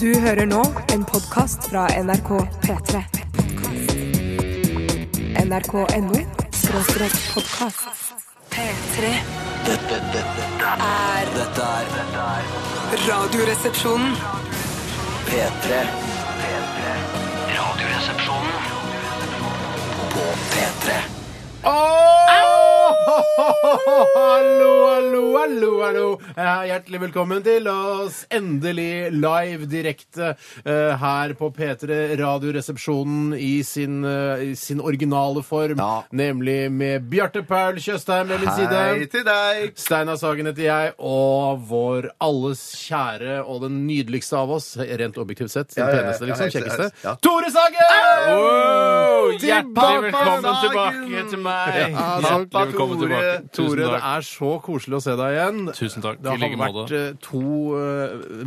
Du hører nå en podkast fra NRK P3. NRK.no skråstrek podkast. P3 Dette, dette, dette, er dette er dette er Radioresepsjonen. P3. P3. Radioresepsjonen på P3. Hallo, hallo, hallo, hallo. Eh, Hjertelig velkommen til oss. Endelig live direkte eh, her på P3 Radioresepsjonen i sin, eh, i sin originale form. Ja. Nemlig med Bjarte Paul Tjøstheim ved min side. Hei til deg! Steinar Sagen heter jeg, og vår alles kjære og den nydeligste av oss, rent objektivt sett, den Ja, ja, ja, peneste, ja, liksom, helt- kjekkeste, ja. Tore Sagen! Wow! Tilbake, Sagen! til meg. Ja, takk. Nappa velkommen Tore. tilbake. Tusen Tore, det takk. er så koselig å se deg igjen. Tusen takk. Det I like har vært måte. eh, to eh,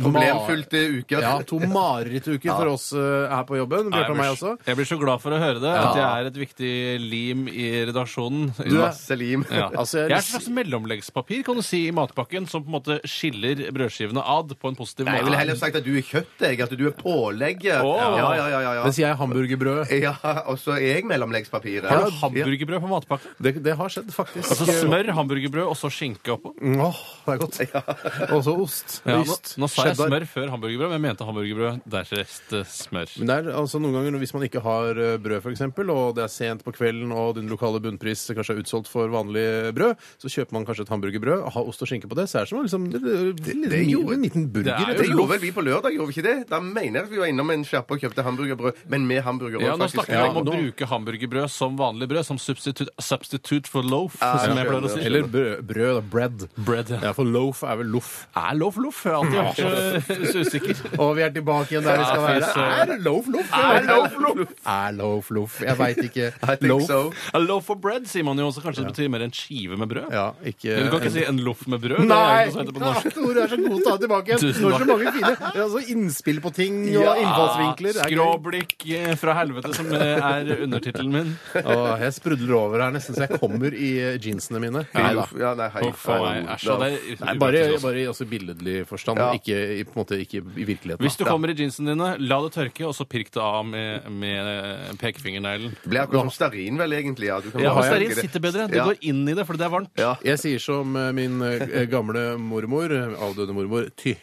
Problemfylte uker. Ja, to marerittuker for oss eh, her på jobben. Nei, Bjarte og meg jeg, også. blir, jeg blir så glad for å høre det, at jeg er et viktig lim i redaksjonen. Du er- Masse lim. ja. altså, jeg- jeg er et slags mellomleggspapir kan du si, i matpakken som på en måte skiller brødskivene ad på en positiv Nei, jeg ville måte. heller sagt at du er kjøttet, jeg. At du er pålegget. Åh. Ja, ja, ja, ja, Mens ja. jeg er hamburgerbrød. ja og så er jeg mellomleggspapiret. Har du hamburgerbrød på matpakken? Det, det har skjedd, faktisk. Altså smør, hamburgerbrød og så skinke oppå? Mm, Åh, det er godt. Og så ost. Ja, nå, Ost. nå sa jeg Cheddar. smør før hamburgerbrød, men jeg mente hamburgerbrød. Dernest eh, smør. Men det er altså noen ganger Hvis man ikke har eh, brød, for eksempel, og det er sent på kvelden, og din lokale bunnpris kanskje er utsolgt for vanlig brød, så kjøper man kanskje et hamburgerbrød, har ost og skinke på det, så er det som å liksom, det, det, det, det, gjorde- en liten burger. Det er jo Det rett og gjorde slett. vel vi på lørdag, gjorde vi ikke det? Da mener jeg at vi var innom en sjappe og kjøpte hamburgerbrød, men med hamburger Ja, også, Nå faktisk. snakker vi om å nå- bruke hamburgerbrød som vanlig brød, som substitute, substitute for loaf, Ja, som jeg jeg pleier å skjønner. si. Eller brød, brød da, bread. Bread, ja. Ja, for loaf er vel loff. Er loff loff? Jeg har alltid vært eh, så usikker. Og vi er tilbake igjen der vi skal Ja, fy være. søren. Er det loff loff? Er loaf loff? Er loff loff? Jeg veit ikke. I think so. A loaf of bread sier man jo også. Kanskje det betyr mer en skive med brød? Ja, ikke Men Du kan ikke si en loff med brød? Det er Nei! jo ikke noe som heter på norsk. Tore er så god til å ta det tilbake igjen. Tusen Du har så takk. mange fine det er altså innspill på ting og Ja, innfallsvinkler. Det er gøy. Skråblikk eh, fra helvete, som eh, er undertittelen min. Åh, jeg sprudler over her nesten så jeg kommer i eh, jeansene mine. Neida. Ja, nei, hei. Uff a meg. Æsj, ja, det er Nei, bare, upraktisk også. bare i altså, billedlig forstand, Ja. ikke, i, på en måte, ikke i virkeligheten. Hvis du kommer i jeansene dine, la det tørke, og så pirk det av med, med eh, pekefingerneglen. Det blir akkurat som stearin, vel, egentlig. Ja, du kan Ja, bare og bruke Stearin det. sitter bedre. Du Ja. går inn i det, for det er varmt. Ja. Jeg sier som eh, min eh, gamle mormor, eh, avdøde mormor, ty.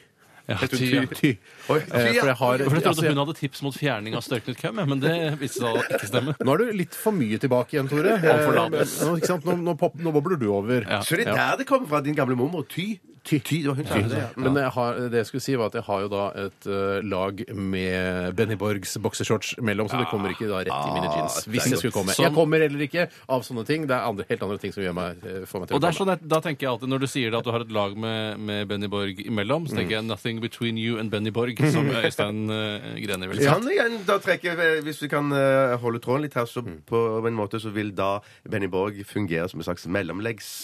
Ja, Ty, ty, ja. ty. Oi, Eh, For jeg har For jeg altså, trodde jeg- hun hadde tips mot fjerning av størknet køm, ja, men det viste seg å ikke stemme. Nå er du litt for mye tilbake igjen, Tore. Eh, for lat. Nå, ikke sant? Nå, nå, pop, nå bobler du over. Ja. Så det er der det kommer fra, din gamle mormor? Ty? Ty, det var hun som gjorde det. ja. Men jeg har, det jeg skulle si var at jeg har jo da et eh, lag med Benny Borgs boksershorts mellom, så det Ah, kommer ikke da rett i mine jeans. Hvis jeg skulle komme. Som- Jeg kommer heller ikke av sånne ting. Det er andre, helt andre ting som gjør meg, eh, får meg til Og å det er komme. sånn at, da tenker jeg alltid, Når du sier det at du har et lag med, med Benny Borg imellom, så Mm. tenker jeg 'Nothing between you and Benny Borg', som Øystein uh, Greni vil si. Kan jeg en- da trekke, eh, Hvis vi kan eh, holde tråden litt her, så Mm. på en måte så vil da Benny Borg fungere som en slags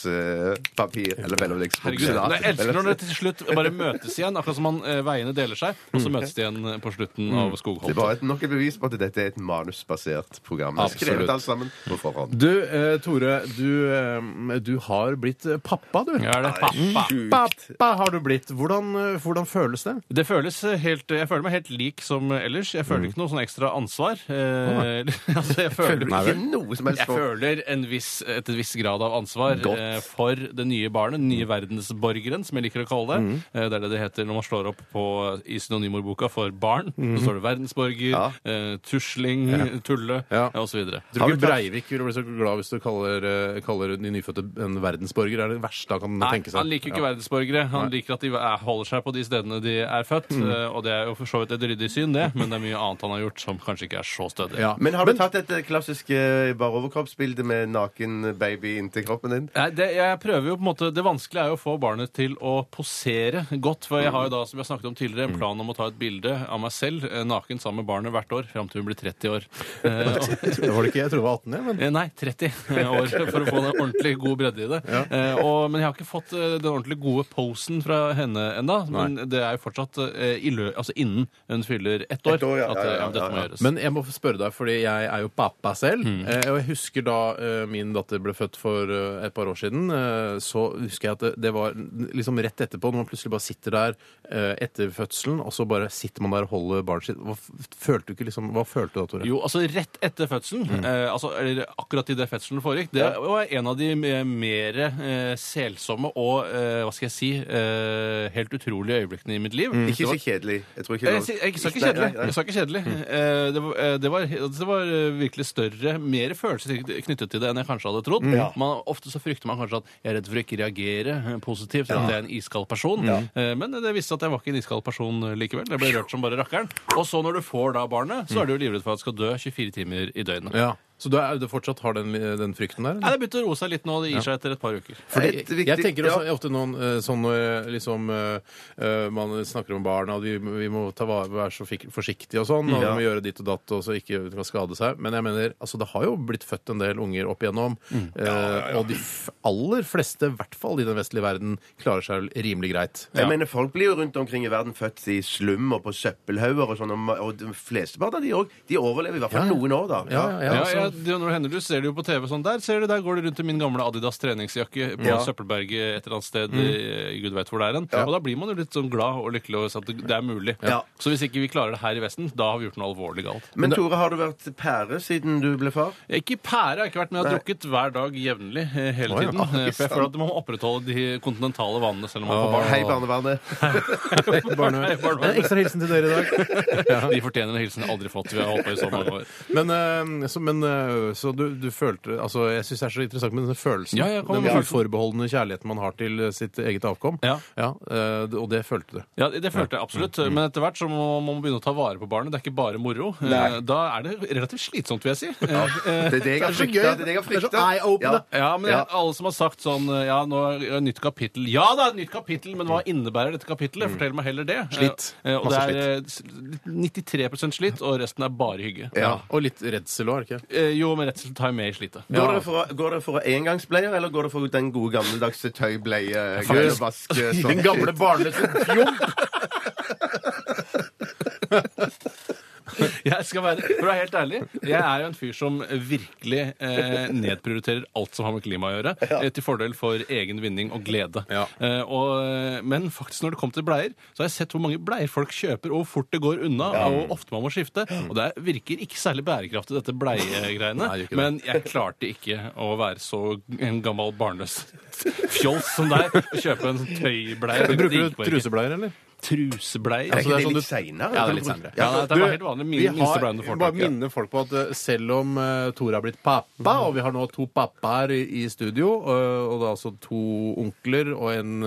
mellomleggspapir. eller Herregud, mellomleggsbukse. da. jeg elsker når Eller- det til slutt bare møtes igjen, akkurat som man, eh, veiene deler seg, og så møtes de igjen eh, på slutten av Mm. Det var Skogholt. et, nok et bevis på at dette er et manusbasert program. Skrevet Absolutt. alt sammen på sånn- forhånd. Du, eh, Tore, du, eh, du har blitt eh, pappa, du. Ja, er det pappa? Pappa har du blitt. Hvordan, eh, hvordan føles det? Det føles eh, helt, jeg føler meg helt lik som ellers. Jeg føler ikke noe sånn ekstra ansvar. Eh, altså, jeg Mm. Føler føler du ikke noe som helst Jeg for føler en viss, et viss grad av ansvar eh, for det nye barnet, den nye verdensborgeren, som jeg liker å kalle det. Mm. Eh, det er det det heter når man slår opp på, i synonymordboka for barn. Så står det verdensborger, Ja. eh, tusling, tulle Mm. eh, Ja. og så videre. Tror ikke Breivik ville bli så glad hvis du kaller, eh, kaller de nyfødte en verdensborger. Det er det verste han kan Nei, tenke seg. han liker jo ikke verdensborgere. Han liker at de er- holder seg på de stedene de er født. Mm. eh, Og det er jo for så vidt et ryddig syn, det, men det er mye annet han har gjort som kanskje ikke er så stødig. Ja. Men har du tatt et eh, klassisk eh, bare overkroppsbilde med naken baby inntil kroppen din? Mm, Nei, det, jeg prøver jo på en måte, det vanskelige er jo å få barnet til å posere godt. For jeg har jo da, som jeg snakket om tidligere, en plan om å ta et bilde av meg selv eh, naken sammen med barnet hvert år fram til hun blir 30 år. Eh, og- Var det ikke? Jeg trodde det var 18, jeg. Men... eh, Nei, 30 år, for å få den ordentlig gode bredde i det. Eh, og, men jeg har ikke fått eh, den ordentlig gode posen fra henne ennå. Men det er jo fortsatt eh, i lø altså innen hun fyller ett år, Ett år, ja, at ja, ja, eh, ja, dette ja. må gjøres. Men jeg må få spørre deg, fordi jeg er jo pappa selv. eh, Og jeg husker da eh, min datter ble født for eh, et par år siden, eh, så husker jeg at det, det var n- liksom rett etterpå, når man plutselig bare sitter der eh, etter fødselen, og så bare sitter man der og holder barnet sitt. Hva f- følte du ikke liksom, hva følte du da, Tore? Jo, altså rett etter fødselen, eh, altså, eller akkurat idet fødselen foregikk, det var en av de me- mer eh, selsomme og, eh, hva skal jeg si, eh, helt utrolige øyeblikkene i mitt liv. Det Mm. Ikke var- så kjedelig. Jeg tror ikke Jeg, Eh, jeg, jeg sa ikke kjedelig. Jeg sa ikke kjedelig. Eh, Det, var, eh, det, var, det var eh, virkelig større, mer følelser knyttet til det enn jeg kanskje hadde trodd. Man, ofte så frykter man kanskje at jeg er redd for å ikke reagere eh, positivt, at jeg er en iskald person. Eh, Men det viste seg at jeg var ikke en iskald person eh, likevel. Jeg ble rørt som bare rakkeren. Og så når du får da barnet, så er du jo livredd for at det skal dø 24 timer i døgnet. Ja. Så du, er, du fortsatt har den, den frykten der? eller? Nei, det begynte å roe seg litt nå. Det gir seg etter et par uker. Fordi, Et viktig- jeg tenker også ja. ofte noen eh, sånn når eh, liksom, eh, eh, man snakker om barna, at vi, vi må ta vare, være så fik- forsiktige og sånn, og Ja. vi må gjøre ditt og datt og så ikke kan skade seg. Men jeg mener, altså, det har jo blitt født en del unger opp igjennom, Mm. eh, og de f aller fleste, i hvert fall i den vestlige verden, klarer seg rimelig greit. Jeg mener, Folk blir jo rundt omkring i verden født i slum og på søppelhauger og sånn. og- Og de fleste barna de òg. De overlever i hvert fall Ja, ja. noen år, da. Ja, ja, ja, Ja, altså, ja, det når det hender du ser det jo på TV sånn Der ser du, der går det rundt i min gamle Adidas treningsjakke på Søppelberget et eller annet sted. i Gud vet hvor det er hen. Og da blir man jo litt sånn glad og lykkelig over at det det er mulig. Ja. Så hvis ikke vi klarer det her i Vesten, da har vi gjort noe alvorlig galt. Men Tore, har du vært pære siden du ble far? Ikke pære, jeg har ikke vært med. Jeg har drukket hver dag jevnlig eh, hele Å, ja. tiden. eh, For jeg føler at man må opprettholde de kontinentale vanene selv om man får barn. Hei, barnevernet. barne- Hei, barnevernet. En Ekstra hilsen til dere i dag. De fortjener en hilsen jeg aldri fått. Vi har holdt på i så mange år. Men, eh, så, men eh, så du, du følte altså, Jeg syns det er så interessant med denne følelsen. Ja, ja, kom den med følelsen. uforbeholdne kjærligheten man har til eh, sitt eget avkom. Ja. eh, og det følte du. Ja, det det følte jeg absolutt. Men etter hvert så må må man begynne å ta vare på barnet. Det er ikke bare moro. Eh, Da er det relativt slitsomt, vil jeg si. Eh, Det er det jeg har så frykta. gøy. Det er det jeg har Det er så frykta. eye-opener. Ja, men Ja. alle som har sagt sånn Ja, nå er det et nytt kapittel. Ja da, et nytt kapittel, men hva innebærer dette kapittelet? Fortell meg heller det. Slitt. Eh, Og det Masse er eh, s- 93 slitt, og resten er bare hygge. Ja. Og litt redsel òg, er det ikke? Eh, Jo, men rett og slett tar jeg med i slitet. Går dere for, går dere for engangsbleier, eller går dere for den gode gammeldagse tøybleie? Faktisk. gulvvaske, sånn Den gamle barnløse fjomp! Jeg skal være, for å være helt ærlig, jeg er jo en fyr som virkelig eh, nedprioriterer alt som har med klima å gjøre, eh, til fordel for egen vinning og glede. Ja. Eh, og, men faktisk når det kommer til bleier, så har jeg sett hvor mange bleier folk kjøper, og hvor fort det går unna, og hvor ofte man må skifte. Og det er- virker ikke særlig bærekraftig, dette bleiegreiene. Nei, det gjør ikke det. men jeg klarte ikke å være så en gammel barnløs fjols som deg og kjøpe en tøybleie. Men Bruker Det gikk du bare ikke. trusebleier, eller? Trusebleier? Er ikke det Altså, det er sånn litt du- seinere? ja, det er litt senere. Ja, det er bare helt vanlig. vi Min, minste har, bleie du får bare tak i, ja. minner folk på at eh, selv om eh, Tore har blitt pappa, Mhm. og vi har nå to pappaer i, i studio, eh, og det er altså to onkler og en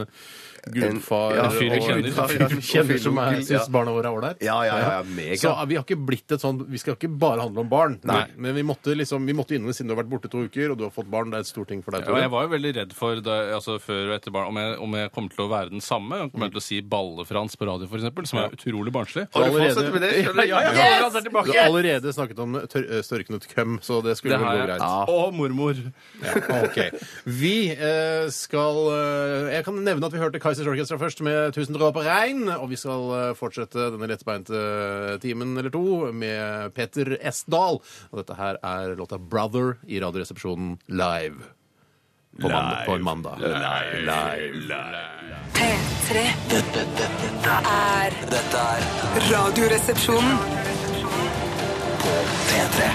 gudfar En- ja, en fyr jeg og kjenner. en fyr jeg kjenner som er- Ja. syns barna våre er ålreit. Ja, ja, ja, ja, mega. Så eh, vi har ikke blitt et sånn Vi skal ikke bare handle om barn, Nei. men vi måtte, liksom, vi måtte innom det siden du har vært borte to uker, og du har fått barn. Det er et stort ting for deg, Ja, og Tore. jeg var jo veldig redd for da, altså, før og etter barn, om, jeg, om jeg kom til å være den samme. Om jeg kom til å si ballefrans på radio, for eksempel, som er utrolig barnslig. Har du Allerede- fortsatt med det? skjønner jeg? Ja, ja, ja, altså, Du har allerede snakket om tør eh, størknet køm, så det skulle Det vel har gå jeg. greit. Og mormor. Ja, ok. Vi eh, skal eh, Jeg kan nevne at vi hørte Kaizers Orchestra først med 'Tusen dråper regn', og vi skal eh, fortsette denne lettbeinte eh, timen eller to med Peter Esdal. Og dette her er låta 'Brother' i Radioresepsjonen live. På, Mandag, på en mandag. P3 Dette, dette, er dette er Radioresepsjonen. P3.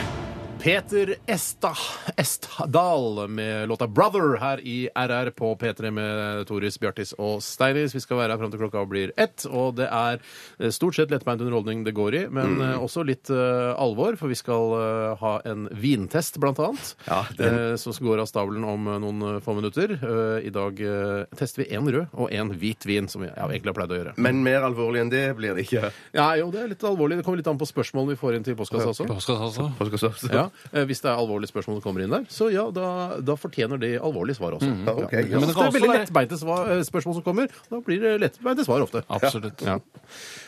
Peter Esta, Estdal med låta 'Brother' her i RR på P3 med Toris, Bjartis og Steinis. Vi skal være her fram til klokka blir ett, og det er eh, stort sett lettbeint underholdning det går i, men Mm. eh, også litt eh, alvor, for vi skal eh, ha en vintest, blant annet, Ja, den- eh, som går av stabelen om eh, noen eh, få minutter. Eh, I dag eh, tester vi én rød og én hvit vin, som vi ja, egentlig har pleid å gjøre. Men mer alvorlig enn det blir det ikke. Ja, jo, det er litt alvorlig. Det kommer litt an på spørsmålene vi får inn til postkassa også. Påskas altså. Ja, eh, Hvis det er alvorlige spørsmål som kommer inn der, så ja, da, da fortjener de alvorlige svar også. Ja, ok, Ja. ja. Men det kan også ofte veldig være- lettbeinte svar, eh, spørsmål som kommer. Da blir det lettbeinte svar ofte. Absolutt. Ja.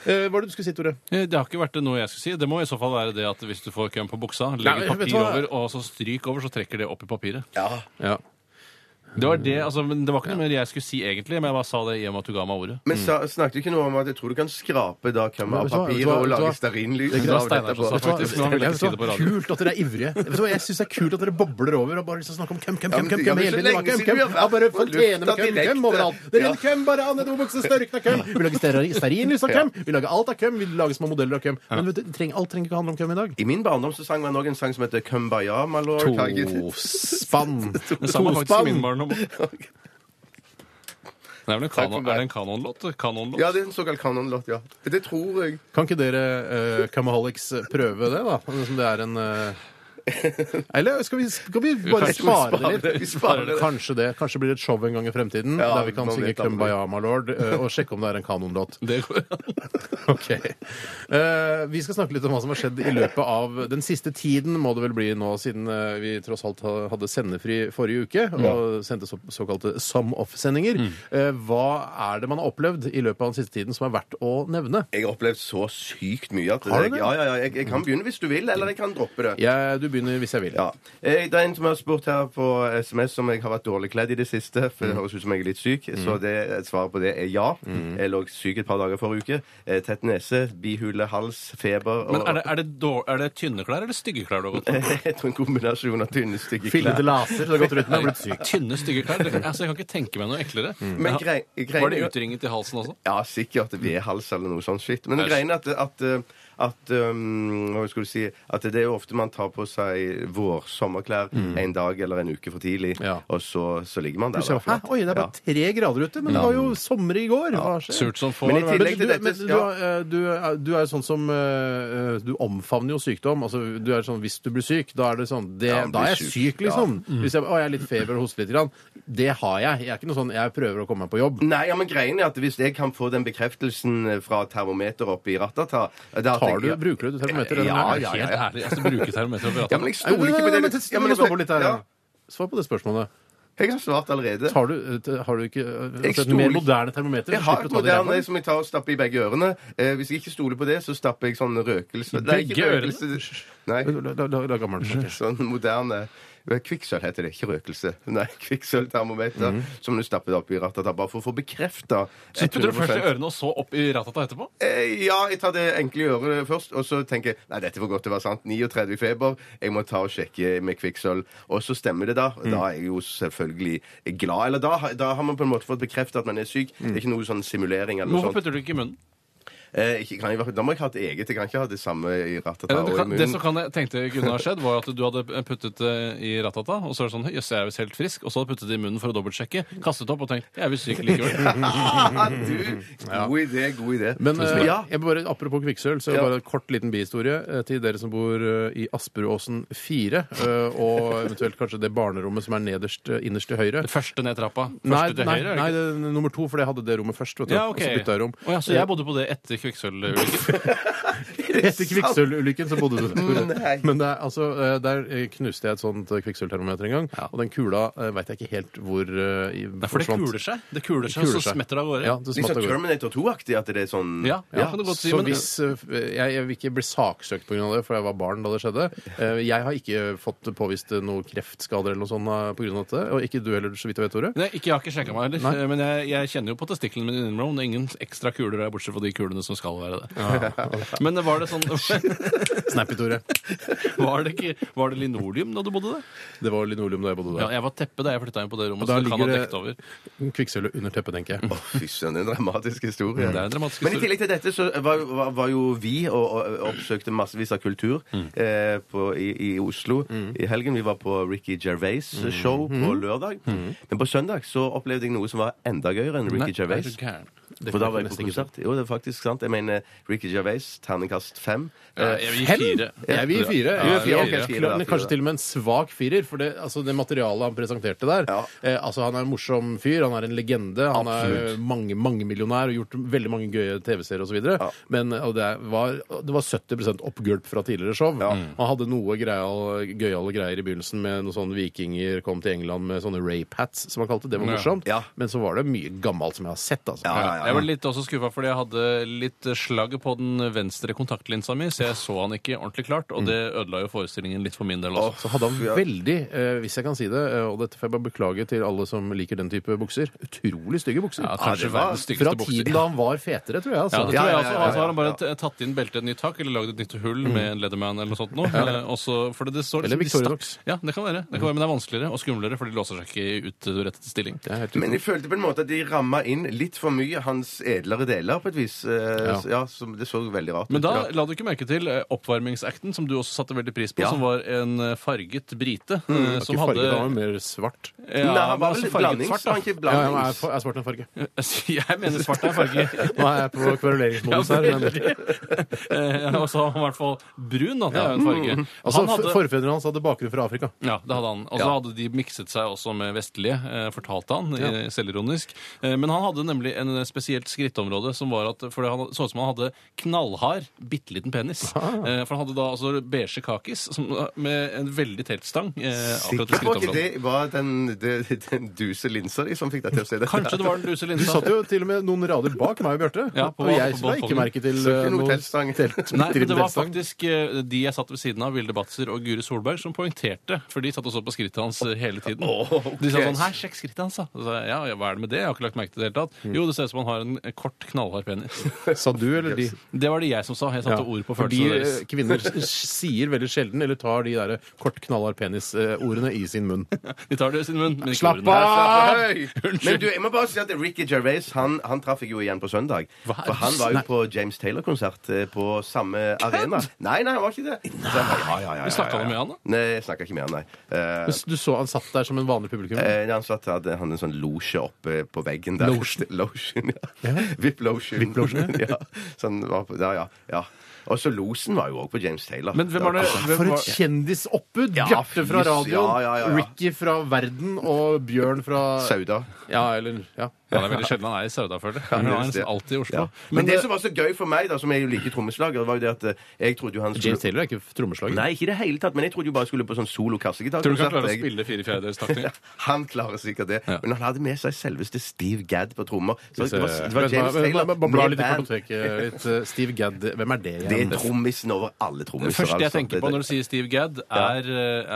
Eh, Hva er det du skulle si, Tore? Eh, Det har ikke vært noe jeg skulle si. Det må i så fall være det at hvis du får køm på buksa, legg Nei, et men vet du papir hva? over, og så stryk over, så trekker det opp i papiret. Ja. Ja. Det var det, altså, men det var ikke noe mer jeg skulle si egentlig, men jeg bare sa det i og med at du ga meg ordet. Men sa, snakket du ikke noe om at jeg tror du kan skrape da kan man Men av vet du papiret hva, vet du hva, og vet du lage hva? stearinlys Det er av Steinar dette? på? som sa Vet du hva? faktisk, men han ville ikke si det på radio. Kult at dere er ivrige. Vet du hva, Jeg syns det er kult at dere bobler over og bare liksom snakker om køm, køm, Ja, køm. men det køm, er køm, hele så tiden. lenge Køm, siden køm, vi har vært Ja, bare på fontene med lufta køm, direkte. køm overalt. Det Ja. renner køm bare an i dobuksa, størkna køm. Vi lager steari- stearinlys av køm. Vi lager alt av køm. Vi lager små modeller av køm. Men vet du, treng, alt trenger ikke handle om køm i dag. I min barndom så sang man òg en sang som heter Kumbaya, my lord. Tospann. Det samme er faktisk i min Tospann. barndom. Det er vel en Takk for kanon, meg. er det en kanonlåt? Kanonlåt? Ja, det er en såkalt kanonlåt, ja. Det tror jeg. Kan ikke dere uh, Kamaholics prøve det, da? Som det er en eh, Eller skal vi, skal vi bare Jeg tror vi spare det litt? sparer- vi sparer det. Kanskje det. Kanskje blir det et show en gang i fremtiden Ja, der vi kan man synge vet aldri. Kumbaya, my lord, eh, og sjekke om det er en kanonlåt. Det går an. Ok. Eh, vi skal snakke litt om hva som har skjedd i løpet av den siste tiden, må det vel bli nå, siden eh, vi tross alt ha- hadde sendefri forrige uke, og sendte så, såkalte some off-sendinger. Mm. Eh, hva er det man har opplevd i løpet av den siste tiden som er verdt å nevne? Jeg har opplevd så sykt mye at Har du det? Ja, ja, ja. Jeg, jeg kan begynne hvis du vil, eller jeg kan droppe det. Jeg, du begynner hvis jeg vil. Ja. Eh, Det er en som har spurt her på SMS om jeg har vært dårlig kledd i det siste. For det høres ut som jeg er litt syk. Så det, svaret på det er ja. Jeg lå syk et par dager forrige uke. Eh, Tett nese, bihule, hals, feber og Men er det, er, det dår, er det tynne klær eller stygge klær du har gått med? Jeg tror en kombinasjon av tynne, stygge Fillete klær. laser, så det har gått rundt med og blitt syk. Tynne, stygge klær? Det, altså, jeg kan ikke tenke meg noe eklere. Mm. Men Jeg har- grei- grei- Var det utringet i halsen også? Ja, sikkert ved hals eller noe sånt shit. Men Æsj. greien er at, at, eh, at um, Hva skulle du si At det er jo ofte man tar på seg vår-sommerklær en dag eller en uke for tidlig, Ja. og så, så ligger man der. Plutselig, da, Hæ? flat. Oi, det er bare Ja. tre grader ute, men det var jo sommer i går. Hva skjer? Surt som får. Men i vel. tillegg- Men, du, til men dette- du, ja. er- du, er- du er jo sånn som eh, Du omfavner jo sykdom. Altså, du er sånn, Hvis du blir syk, da er det sånn det, Ja, Mm. blir Da er jeg syk, syk, liksom. Hvis jeg, å, jeg er litt feber og hoster litt. Grann. Det har jeg. Jeg er ikke noe sånn Jeg prøver å komme meg på jobb. Nei, ja, men greien er at hvis jeg kan få den bekreftelsen eh, fra termometeret oppe i eh, Rattata Tar du, bruker du termometer? eller? Ja, Er det ja, Helt ja. ærlig, altså, bruker termometer over Ja, men jeg Nei, stoler men- ikke på men- det. men- du- Ja, altså, men Stopp opp litt her. Ja, Svar på det spørsmålet. jeg har svart allerede. Tar du, eh, har du ikke eh, altså, et stoler mer ikke- moderne termometer? Jeg så har slipper et du å ta det i ræva? moderne som jeg tar og stapper i begge ørene. Eh, hvis jeg ikke stoler på det, så stapper jeg sånn røkelse Nei, ikke begge røkelse. Nei, La, la, la, la gammel. sånn moderne Eh, Kvikksølv heter det, ikke røkelse. Nei, Kvikksølvtermometer Mhm. som du stapper opp i Rattata bare for å få bekrefta Så putter du først i ørene og så opp i ratata etterpå? Eh, ja, jeg tar det enkle i øret først, og så tenker jeg nei, dette får godt til å være sant. 39 i feber, jeg må ta og sjekke med kvikksølv. Og så stemmer det, da. Da er jeg jo selvfølgelig glad. Eller da, har- da har man på en måte fått bekreftet at man er syk. Det er ikke noe sånn simulering eller noe Hvorfor sånt. putter du ikke i munnen? Eh, ikke, kan jeg, være- da må jeg ha et eget. Jeg kan ikke ha det samme i ratata Eller, og du i kan, munnen. det som kan jeg tenkte kunne ha skjedd, var at du hadde puttet det i ratata, og så er det sånn Jøss, jeg er visst helt frisk. Og så hadde du puttet det i munnen for å dobbeltsjekke, kastet opp og tenkt Jeg er visst syk likevel. Ah, du, god idé, god idé. Men eh, ja, jeg bare, apropos kvikksølv, så Ja. bare en kort liten bihistorie eh, til dere som bor eh, i Asperåsen 4, eh, og eventuelt kanskje det barnerommet som er nederst, eh, innerst til høyre. Det første ned trappa. Første Nei, til nei, høyre. er det nei ikke? det, er nummer to, for jeg hadde det rommet først. Vet du. ja, ok. Og så bytta jeg rom. Å ja, så jeg bodde på det etter kvikksølvulykken. Etter kvikksølvulykken så bodde du der. Nei. Men det er, altså, eh, der eh, knuste jeg et sånt eh, kvikksølvtermometer en gang, og den kula veit jeg ikke helt hvor eh, i- Det er fordi det forsvant. kuler seg. Det kuler seg, Kuler og så seg. smetter det av gårde. Ja, det Litt smatt sånn av gårde. Terminator 2-aktig at det er sånn Ja, det kan du godt si. Så men- hvis eh, f- jeg, jeg vil ikke bli saksøkt pga. det, for jeg var barn da det skjedde. Eh, Jeg har ikke fått påvist eh, noe kreftskader eller noe sånt eh, på grunn av dette. Og ikke du heller, så vidt jeg vet, Tore. Nei, ikke, jeg har ikke sjekka meg heller, Nei. men jeg, jeg kjenner jo på testiklene mine innimellom. Det er ingen ekstra kuler her, bortsett fra de kulene som skal være det. Men var det sånn Snappy, Tore. Var det, ikke, var det linoleum da du bodde der? Det var linoleum da jeg bodde Ja, der. jeg var teppe da jeg flytta inn på det rommet, da så det kan ha ligger det- dekt over. Kvikksølvet under teppet, tenker Å, jeg. Fy søren, det er en dramatisk historie. Mm, Det er en dramatisk Men i historie. tillegg til dette så var, var, var jo vi og, og oppsøkte massevis av kultur Mm. eh, på, i, i Oslo i helgen. Vi var på Ricky Gervais Mm. show på lørdag. Men på søndag så opplevde jeg noe som var enda gøyere enn Ricky er Gervais. du gæren? For da var jeg nesten på ikke konsert. Jo, det er faktisk sant. Jeg mener Ricky Gervais, terningkast fem. Ja, Eh, jeg vil gi Jeg fire. vil gi fire. Ja, jeg vil gi Ja, fire. ok, Fire, da, men fire. Kanskje til og med en svak firer, for det, altså, det materialet han presenterte der Ja. eh, altså, Han er en morsom fyr, han er en legende, han er Absolutt. eh, mange, mangemillionær og gjort veldig mange gøye TV-serier osv. Ja. Men eh, og det, var, det var 70 oppgulp fra tidligere show. Ja. Mm. Han hadde noe greial- gøyale greier i begynnelsen med noen sånne vikinger kom til England med sånne rape hats, som han kalte det. Det var Ja. morsomt. Ja. Men så var det mye gammelt som jeg har sett. Altså. Ja, ja, ja, Jeg ble litt også skuffa fordi jeg hadde litt slagg på den venstre kontaktlinsa mi, så jeg så han ikke ordentlig klart, og det ødela jo forestillingen litt for min del også. Så hadde han veldig, eh, hvis jeg kan si det, eh, og dette får jeg bare beklage til alle som liker den type bukser, utrolig stygge bukser. Ja, kanskje det var- verdens Fra styggeste tiden bukser. da han var fetere, tror jeg. Ja, Altså. det Ja, tror jeg ja, ja, også. ja, Altså har han bare ja. Mm. t- tatt inn beltet et nytt tak, eller lagd et nytt hull med en Leatherman eller noe sånt. Noe. Eh, og så- fordi det står Eller liksom- de Victorinox. stakk- Ja, det kan være. Det kan være, Men det er vanskeligere og skumlere, for de låser seg ikke ut til rett stilling. Det er helt Men jeg følte på en måte at de ramma inn litt for mye hans edlere deler, på et vis. Eh, Ja. s- Ja, som Det så veldig rart ut. Men da ja. la du ikke merke til eh, oppvarmingsacten, som du også satte veldig pris på, Ja. Mm, som var en eh, farget brite. eh, Som som ikke farget, han var hadde mer svart. Ja, Nei, han men var altså vel farget blandings. svart, var da. han ikke Ja, ja, men jeg er blandings? fa- jeg er svart en farge. Jeg mener svart er farge. Nå er jeg på kveruleringsmodus her. Men, Eh, Og så var han i hvert fall brun. Da. Det er jo Mm. en farge. altså, Han hadde- Mm. Forfedrene hans hadde bakgrunn fra Afrika. Ja, det hadde han. Og så hadde de mikset seg også med vestlige, eh, fortalte han, eh, selvironisk. Eh, men han hadde nemlig en eh, spesielt skrittområde som var at For det han- så ut som han hadde knallhard, bitte liten penis. Ah, Eh, for han hadde da altså beige kakis som, eh, med en veldig telt stang. Eh, akkurat i Sikker på at skrittområdet. det var den, det, den duse linsa di som fikk deg til å se det? Kanskje det var den luse Du linsa. satt jo til og med noen rader bak meg og Bjarte. Ja, på- og jeg på la ikke balkongen. merke til Så ikke eh, noe noe teltstang. telt- Nei, men det var teltstang. faktisk eh, de jeg satt ved siden av, Vilde Batzer og Guri Solberg, som poengterte. For de satt og så på skrittet hans eh, hele tiden. De sa sånn 'Her, sjekk skrittet hans', da. Og Så, sa jeg, ja, ja, hva er det med det? Jeg har ikke lagt merke til det i det hele tatt. Mm. Jo, det ser ut som han har en eh, kort, knallhard penis. Sa du eller de? Det var det jeg som sa. Jeg satte ord på Fordi følelsene eh, deres. kvinner s- sier veldig sjelden, eller tar de der kort knallhard penis-ordene i sin munn. De tar det i sin munn. Men ikke Slapp ordene. av! Ah! Nei, slapp av. Men du, jeg må bare si at Ricky Gervais han, han traff jeg jo igjen på søndag. Hva? For han var jo på James Taylor-konsert eh, på samme arena. Nei, nei, han var ikke det. Så han var- ja, ja, ja, ja, ja. Men snakket du med han da? Nei, jeg snakka ikke med han, nei. Eh, Hvis du så han satt der som en vanlig publikum. eh, han satt hadde han en sånn losje oppe på veggen der. Lotion? Lotion, ja. Vip lotion. ja. Så han var på, ja, ja, ja. Og så losen var jo òg på James Taylor. Men hvem var det- var- altså hvem For var- et kjendisoppbud! Ja, Bjarte fra fys, radioen, ja, ja, ja, ja. Ricky fra verden og Bjørn fra Sauda. Ja, eller ja. Ja, det er veldig sjelden han er i Sauda, føler jeg. Han er det. nesten alltid i Ja. Oslo. Men, det, som var så gøy for meg, da, som er jo like trommeslager, var jo det at eh, jeg trodde jo han skulle James Taylor er ikke trommeslager. Nei, ikke i det hele tatt, men jeg trodde jo bare skulle på sånn solo kassegitar. Tror du ikke han klarer å spille fire fjerdedels takter? Han klarer sikkert det. Men han hadde med seg selveste Steve Gadd på trommer. Så det var, det var Vent, James vent, Taylor vent, Bare bla med litt i band. kartoteket litt. eh, Steve Gadd, hvem er det Det igjen? er trommisen over alle Det trommiser. første jeg altså. tenker Det- på det- når du sier Steve Gadd, er,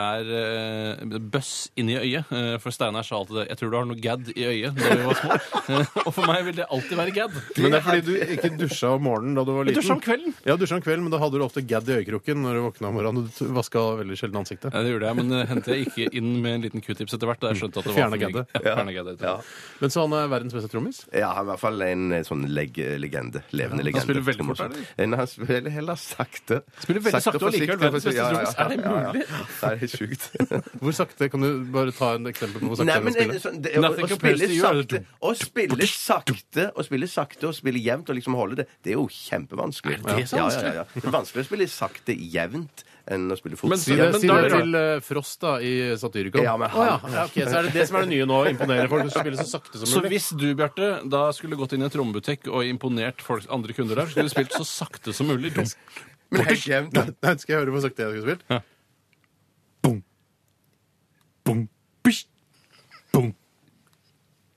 er, eh, bøss inni øyet. Eh, For Steinar sa alltid det. 'Jeg tror du har noe gadd i øyet' da vi var små. Eh, Og for meg vil det alltid være gadd. Men det er fordi du ikke dusja om morgenen da du var Jeg liten. dusja om kvelden. Ja, dusja om kvelden, men da hadde du ofte gadd i øyekroken når du våkna om morgenen. og Du vaska veldig sjelden ansiktet. Ja, det gjorde jeg, men eh, hentet jeg ikke inn med en liten q-tips etter hvert. Da jeg skjønte at det var Fjerna for mye. gaddet. Ja, fjerna gaddet, etter Ja. hvert. Men så han er verdens beste trommis. Ja, han er i hvert fall en eh, sånn leg legende. Levende legende. spiller veldig fort, trommisen. Nei, Han spiller heller sakte. Spiller veldig sakte, og likevel verdens beste Ja, ja, ja. trommis. Er det mulig? Ja, ja. Nei, det er sjukt. Hvor sakte? Kan du bare ta en eksempel på hvor sakte Nei, han men kan spille? eh, det, sånn, det, å, Nothing å compares spille to you, er det sakte Å spille sakte og spille sakte og spille jevnt og liksom holde det, det er jo kjempevanskelig. Er det så ja, ja, vanskelig? ja, ja. Det er vanskeligere å spille sakte jevnt enn å spille fort. Men Si Ja, det, si da det er det til eh, Frost da, i Satyricon. Ja, men Å, ja. ja, ok, Så er det det som er det nye nå, å imponere folk som spiller så sakte som Så mulig. hvis du, Bjarte, da skulle gått inn i en trommebutikk og imponert folk, andre kunder der, skulle du spilt så sakte som mulig. Dum. Men helt jevnt. Nei, nei, skal jeg høre hvor sakte jeg skulle spilt? Ja. Bong. Bong. Bish. Bong.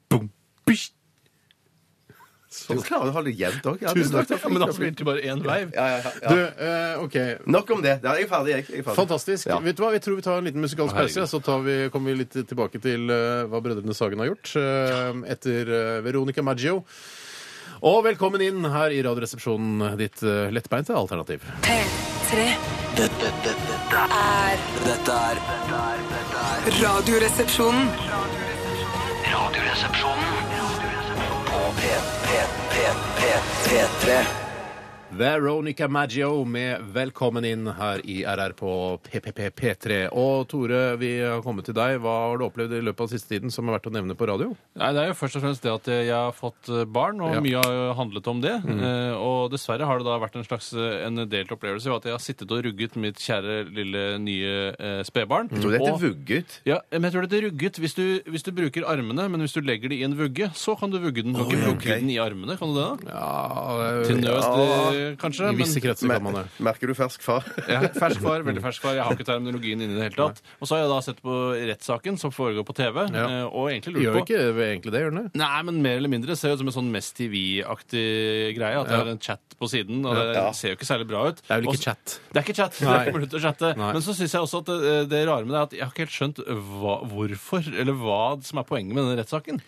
Bong. Bish. Du klarer å holde det jevnt òg. Ja, Tusen det- Ja, men da spilte de bare én vei. Ja, ja, ja, Du, ja. eh, OK. Nok om det. Da er jeg ferdig, jeg. jeg er ferdig. Fantastisk. Ja. Vet du hva, Vi tror vi tar en liten musikalsk Å, herregud. pause, ja, så tar vi, kommer vi litt tilbake til eh, hva Brødrene Sagen har gjort. eh, etter eh, Veronica Maggio. Og velkommen inn her i Radioresepsjonen, ditt eh, lettbeinte alternativ. P3 Dette, dette, dette er er Dette er dette er- dette er Radioresepsjonen. Radioresepsjonen på P, P, P, P, P3. Veronica Maggio med 'Velkommen inn' her i RR på PPP3. Og Tore, vi har kommet til deg. Hva har du opplevd i løpet av siste tiden som er verdt å nevne på radio? Nei, Det er jo først og fremst det at jeg har fått eh, barn, og Ja. Mm. mye har jo handlet om det. Eh, Og dessverre har det da vært en slags eh, en delt opplevelse ved at jeg har sittet og rugget mitt kjære lille nye eh, spedbarn. Jeg tror det heter Og- vugget. Ja, men jeg tror det er rugget hvis du, hvis du bruker armene, men hvis du legger det i en vugge, så kan du vugge den. Du kan ikke ja, vugge ok. den i armene, kan du det? da? Ja, Til nød, eh, eh, kanskje. I visse men- kretser kan man det. Merker du fersk far? Ja, fersk far, veldig fersk far. Jeg har ikke terminologien inne i det hele tatt. Og så har jeg da sett på rettssaken som foregår på TV, Ja. eh, og egentlig Gjør lurt på ikke egentlig det, gjør den det? Nei, men mer eller mindre ser det ut som en sånn Mest TV-aktig greie. At det er en chat på siden, og det Ja. ser jo ikke særlig bra ut. Det er vel Og ikke så- chat. Det er ikke chat. Det Nei. er ikke mulig til å chatte. Nei. Men så syns jeg også at det, det rare med det er at jeg har ikke helt skjønt hva, hvorfor, eller hva som er poenget med denne rettssaken.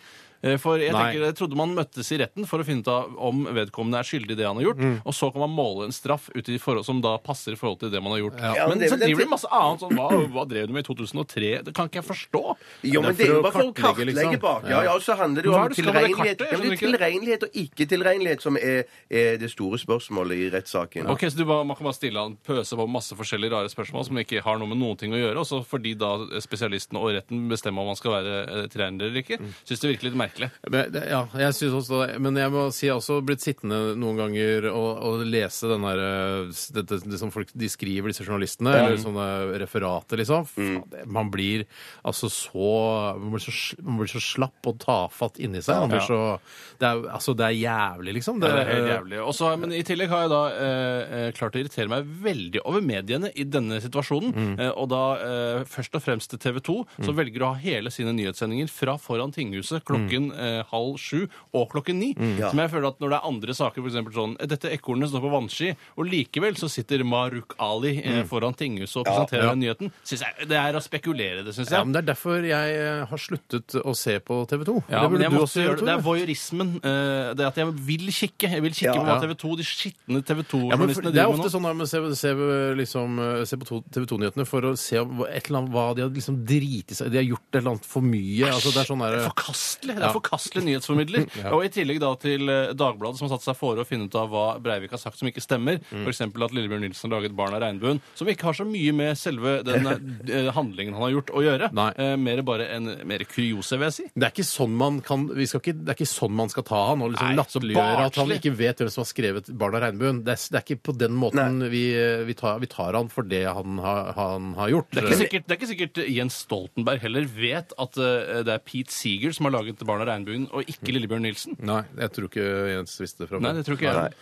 Eh, For jeg, Nei. tenker, jeg trodde man møttes i retten for å finne ut av om vedkommende er skyldig i det han har gjort, Mm. og så kan man måle en straff ut i forhold, som da passer i forhold til det man har gjort. Ja, men men det er så vel den driver de ti- masse annet sånn Hva, hva drev du med i 2003? Det kan ikke jeg forstå. Jo, men Det det er er for jo å bare for å kartlegge, kartlegge liksom. bak. Ja, ja, og så handler det jo Hva er om det du skal med det tilregnelighet. Ja, kartet? men det er Skjønner ikke det. tilregnelighet og ikke-tilregnelighet som er, er det store spørsmålet i rettssaken. Ok, så du bare, Man kan bare stille han pøse på masse forskjellige rare spørsmål som ikke har noe med noen ting å gjøre, og så får de da eh, spesialisten og retten bestemme om han skal være eh, trener eller ikke. Syns det virker litt merkelig. Men, det- ja, jeg synes også det. Men jeg må si jeg har også blitt sittende noen ganger og, og lese den der, eh, dette, det som folk de skriver, disse journalistene, eller sånne referater, liksom. Mm. Faen, det- Man blir altså så Man blir så, sl- man blir så slapp og tafatt inni seg. Man blir så, det, er, altså, det er jævlig, liksom. Det er helt jævlig. Og så- men i tillegg har jeg da eh, eh, klart å irritere meg veldig over mediene i denne situasjonen. Eh, og da eh, først og fremst til TV 2, som velger å ha hele sine nyhetssendinger fra foran tinghuset klokken eh, halv sju og klokken ni. Som jeg føler at når det er andre saker, f.eks. sånn Dette ekornet står på vannski, og likevel så sitter Maruk Ali eh, foran tinghuset og presenterer den nyheten. Synes jeg, det er å spekulere, det syns jeg. Ja, men Det er derfor jeg eh, har sluttet å se på TV 2. Ja, det men burde jeg du måtte også gjøre gjøre, det. Det er Tore. voyeurismen. eh, Det at jeg vil kikke. Jeg vil kikke på Ja. hva TV 2, de skitne TV Ja, men for, 2-journalistene det er ofte sånn at man ser, ser, liksom, eh, ser på TV 2-nyhetene for å se om hva- et eller annet, hva de har liksom driti seg De har gjort et eller annet for mye. Altså, det er sånn der, Forkastelig! Det er forkastelig nyhetsformidler. Og i tillegg da til eh, Dagbladet, som har satt seg fore å finne ut av hva Breivik har sagt som ikke stemmer. Mm. For F.eks. at Lillebjørn Nilsen laget 'Barn av regnbuen', som ikke har så mye med selve den eh, handlingen han har gjort, å gjøre. Nei. Eh, mer bare en mer kuriose, vil jeg si. det er ikke sånn man kan vi skal ikke, Det er ikke sånn man skal ta han og liksom Nei, så latterliggjøre at han barnslig. ikke vet hvem som har skrevet 'Barn av regnbuen'. Det er, det er ikke på den måten vi, vi, tar, vi tar han for det han, har- han har gjort. Det er, ikke sikkert, det er ikke sikkert Jens Stoltenberg heller vet at eh, det er Pete Seeger som har laget 'Barn av regnbuen', og ikke Mm. Lillebjørn Nilsen. Nei, jeg tror ikke Jens visste det fra Nei, det tror ikke jeg.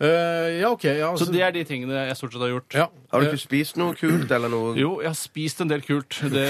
Eh, ja, OK. Ja, Altså, Så det er de tingene jeg stort sett har gjort. ja. Har du ikke spist noe kult eller noe Eh, Jo, jeg har spist en del kult. Det,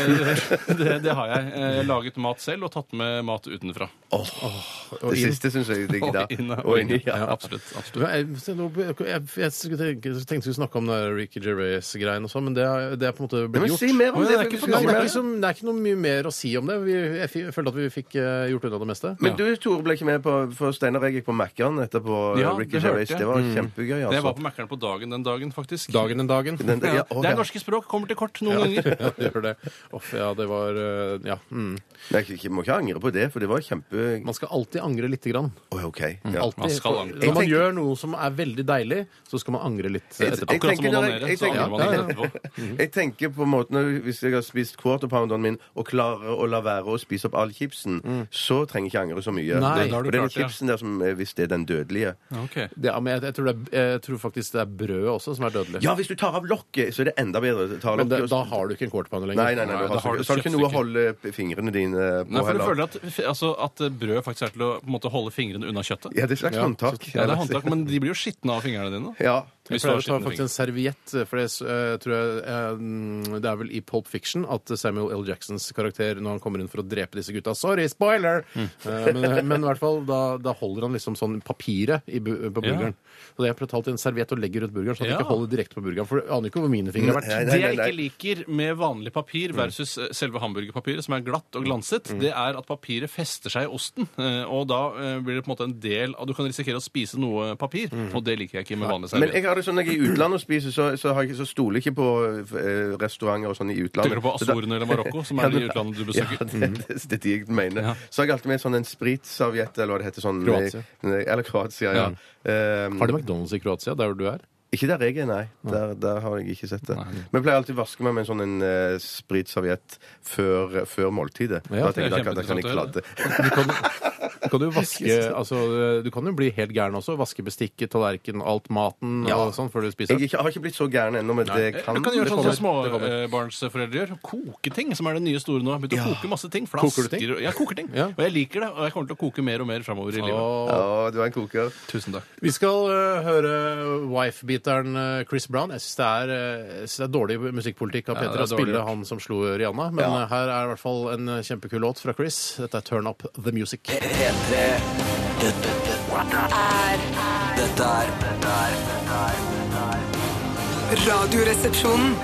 det, det har jeg. Eh, Laget mat selv og tatt med mat utenfra. Det siste syns jeg er digg, da. inne- Og inni, Ja, ja. absolutt. absolutt. Ja, Jeg, se, nå- jeg, jeg, jeg skulle tenke- jeg tenkte vi skulle snakke om den der Ricky Gervais-greien og sånn, men det er, det er på en måte blitt Men gjort. si mer om Å, ja, det. det er for ikke vi Nei, skal det, ikke er ikke så, det er ikke noe mye mer å si om det. Vi, jeg, fi- følte at vi fikk eh, gjort unna det meste. Men du, Tore, ble ikke med på For Steinar og jeg gikk på Mækkern etterpå. Ja, eh, Ricky det hørte Gervais. jeg. Mm. Det var kjempegøy, Det var altså. på Mækkern på dagen den dagen, faktisk. Dagen den dagen. Den, der- Ja. ja, å, Det ja. er norske språk. Kommer til kort noen ganger. Ja, det gjør det. Uff, ja, det var eh, Ja. Mm. Nei, jeg ikke- må ikke angre på det, for det var kjempe... Man skal alltid angre lite gran. Å, ja, OK. Ja. Alltid. man skal angre. Når man Jeg tenker- gjør noe som er veldig deilig, så skal man angre litt eh, Jeg- etterpå. Akkurat som tenker dere- onanere, jeg så tenker- angrer man ja, ja. etterpå. Jeg tenker på måten at Hvis jeg har spist quarter pounderen min og klarer å la være å spise opp all chipsen, Mm. så trenger jeg ikke angre så mye. Nei, det, da har du for det er den klart det, ja. chipsen der som eh, hvis det er den dødelige. Ok. Det, ja, men jeg, jeg, tror det er, jeg tror faktisk det er brødet også som er dødelig. Ja, hvis du tar av lokket, så er det enda bedre. Ta av Men det, lokket, og- da har du ikke en quarterpanne lenger. Nei, nei, nei, Nei, du da har, så- har du så har du ikke noe å kjøttstykke. holde p- fingrene dine på Nei, for du heller. føler at, altså, at brød faktisk er til å på en måte, holde fingrene unna kjøttet? Ja, det er et slags Ja, håndtak. Ja, det er håndtak, men de blir jo skitne av fingrene dine. Ja. Jeg Hvis du har pleier å ta skitne faktisk en fingre. serviett, for det eh, tror jeg eh, mm, Det er vel i Pulp Fiction at Samuel L. Jacksons karakter, når han kommer inn for å drepe disse gutta Sorry, spoiler! Mm. Eh, men, men i hvert fall, da, da holder han liksom sånn papiret i, bu- på Ja. burgeren. Så jeg prøvde å ta alltid en serviett og legger rundt burgeren, så at Ja. jeg ikke holder direkte på burgeren. For du aner jo ikke hvor mine fingre har vært. Nei, nei, Det nei, nei. jeg ikke liker med vanlig papir Mm. versus eh, selve hamburgerpapiret, som er glatt og glanset, det er at papiret fester seg i osten. eh, Og da eh, blir det på en måte en del av Du kan risikere å spise noe papir, og det liker jeg ikke med vanlig Mm. Men serviett. jeg har det sånn når jeg er i utlandet og spiser, så, så, har jeg, så stoler jeg ikke på eh, restauranter og sånn i utlandet. Tenker du på Så da- Azorene eller Marokko, som er de utlandet du besøker? Ja, det, det, det er de jeg mener. Ja. Så har jeg alltid med sånn en spritserviett, eller hva det heter. sånn... Kroatia. Nei, Eller Kroatia, ja. Ehm, Har de McDonald's i Kroatia, der hvor du er? ikke der jeg er, nei. Der, der har jeg ikke sett det. Men jeg pleier alltid å vaske meg med en sånn en, eh, spritserviett før, før måltidet. da Ja, tenker jeg, det er da, kan- da kan jeg kladde. Du kjempeinteressant å kan, du kan du vaske altså, Du kan jo bli helt gæren også. Vaske bestikket, tallerken, alt maten Ja. og sånn før du Jeg spiser. er ikke, har ikke blitt så gæren ennå, men det kan Du kan gjøre det sånn kommer. som småbarnsforeldre gjør. Koke ting, som er det nye store nå. Jeg har begynt å koke masse ting. Flasker Koker du ting? og- Ja, koker ting. Ja. Og jeg liker det, og jeg kommer til å koke mer og mer framover i livet. Åh. Å, du er en koker. Tusen takk. Vi skal eh, høre wife-beateren eh, Chris Brown. Jeg syns det, er, eh, jeg synes det er dårlig musikkpolitikk av Ja, det Peter er å spille dårlig gjort. han som slo Rihanna, men eh, her er i hvert fall en eh, kjempekul låt fra Chris. Dette er Turn Up The Music. P- P3 Dette er Dette er Dette er Radioresepsjonen.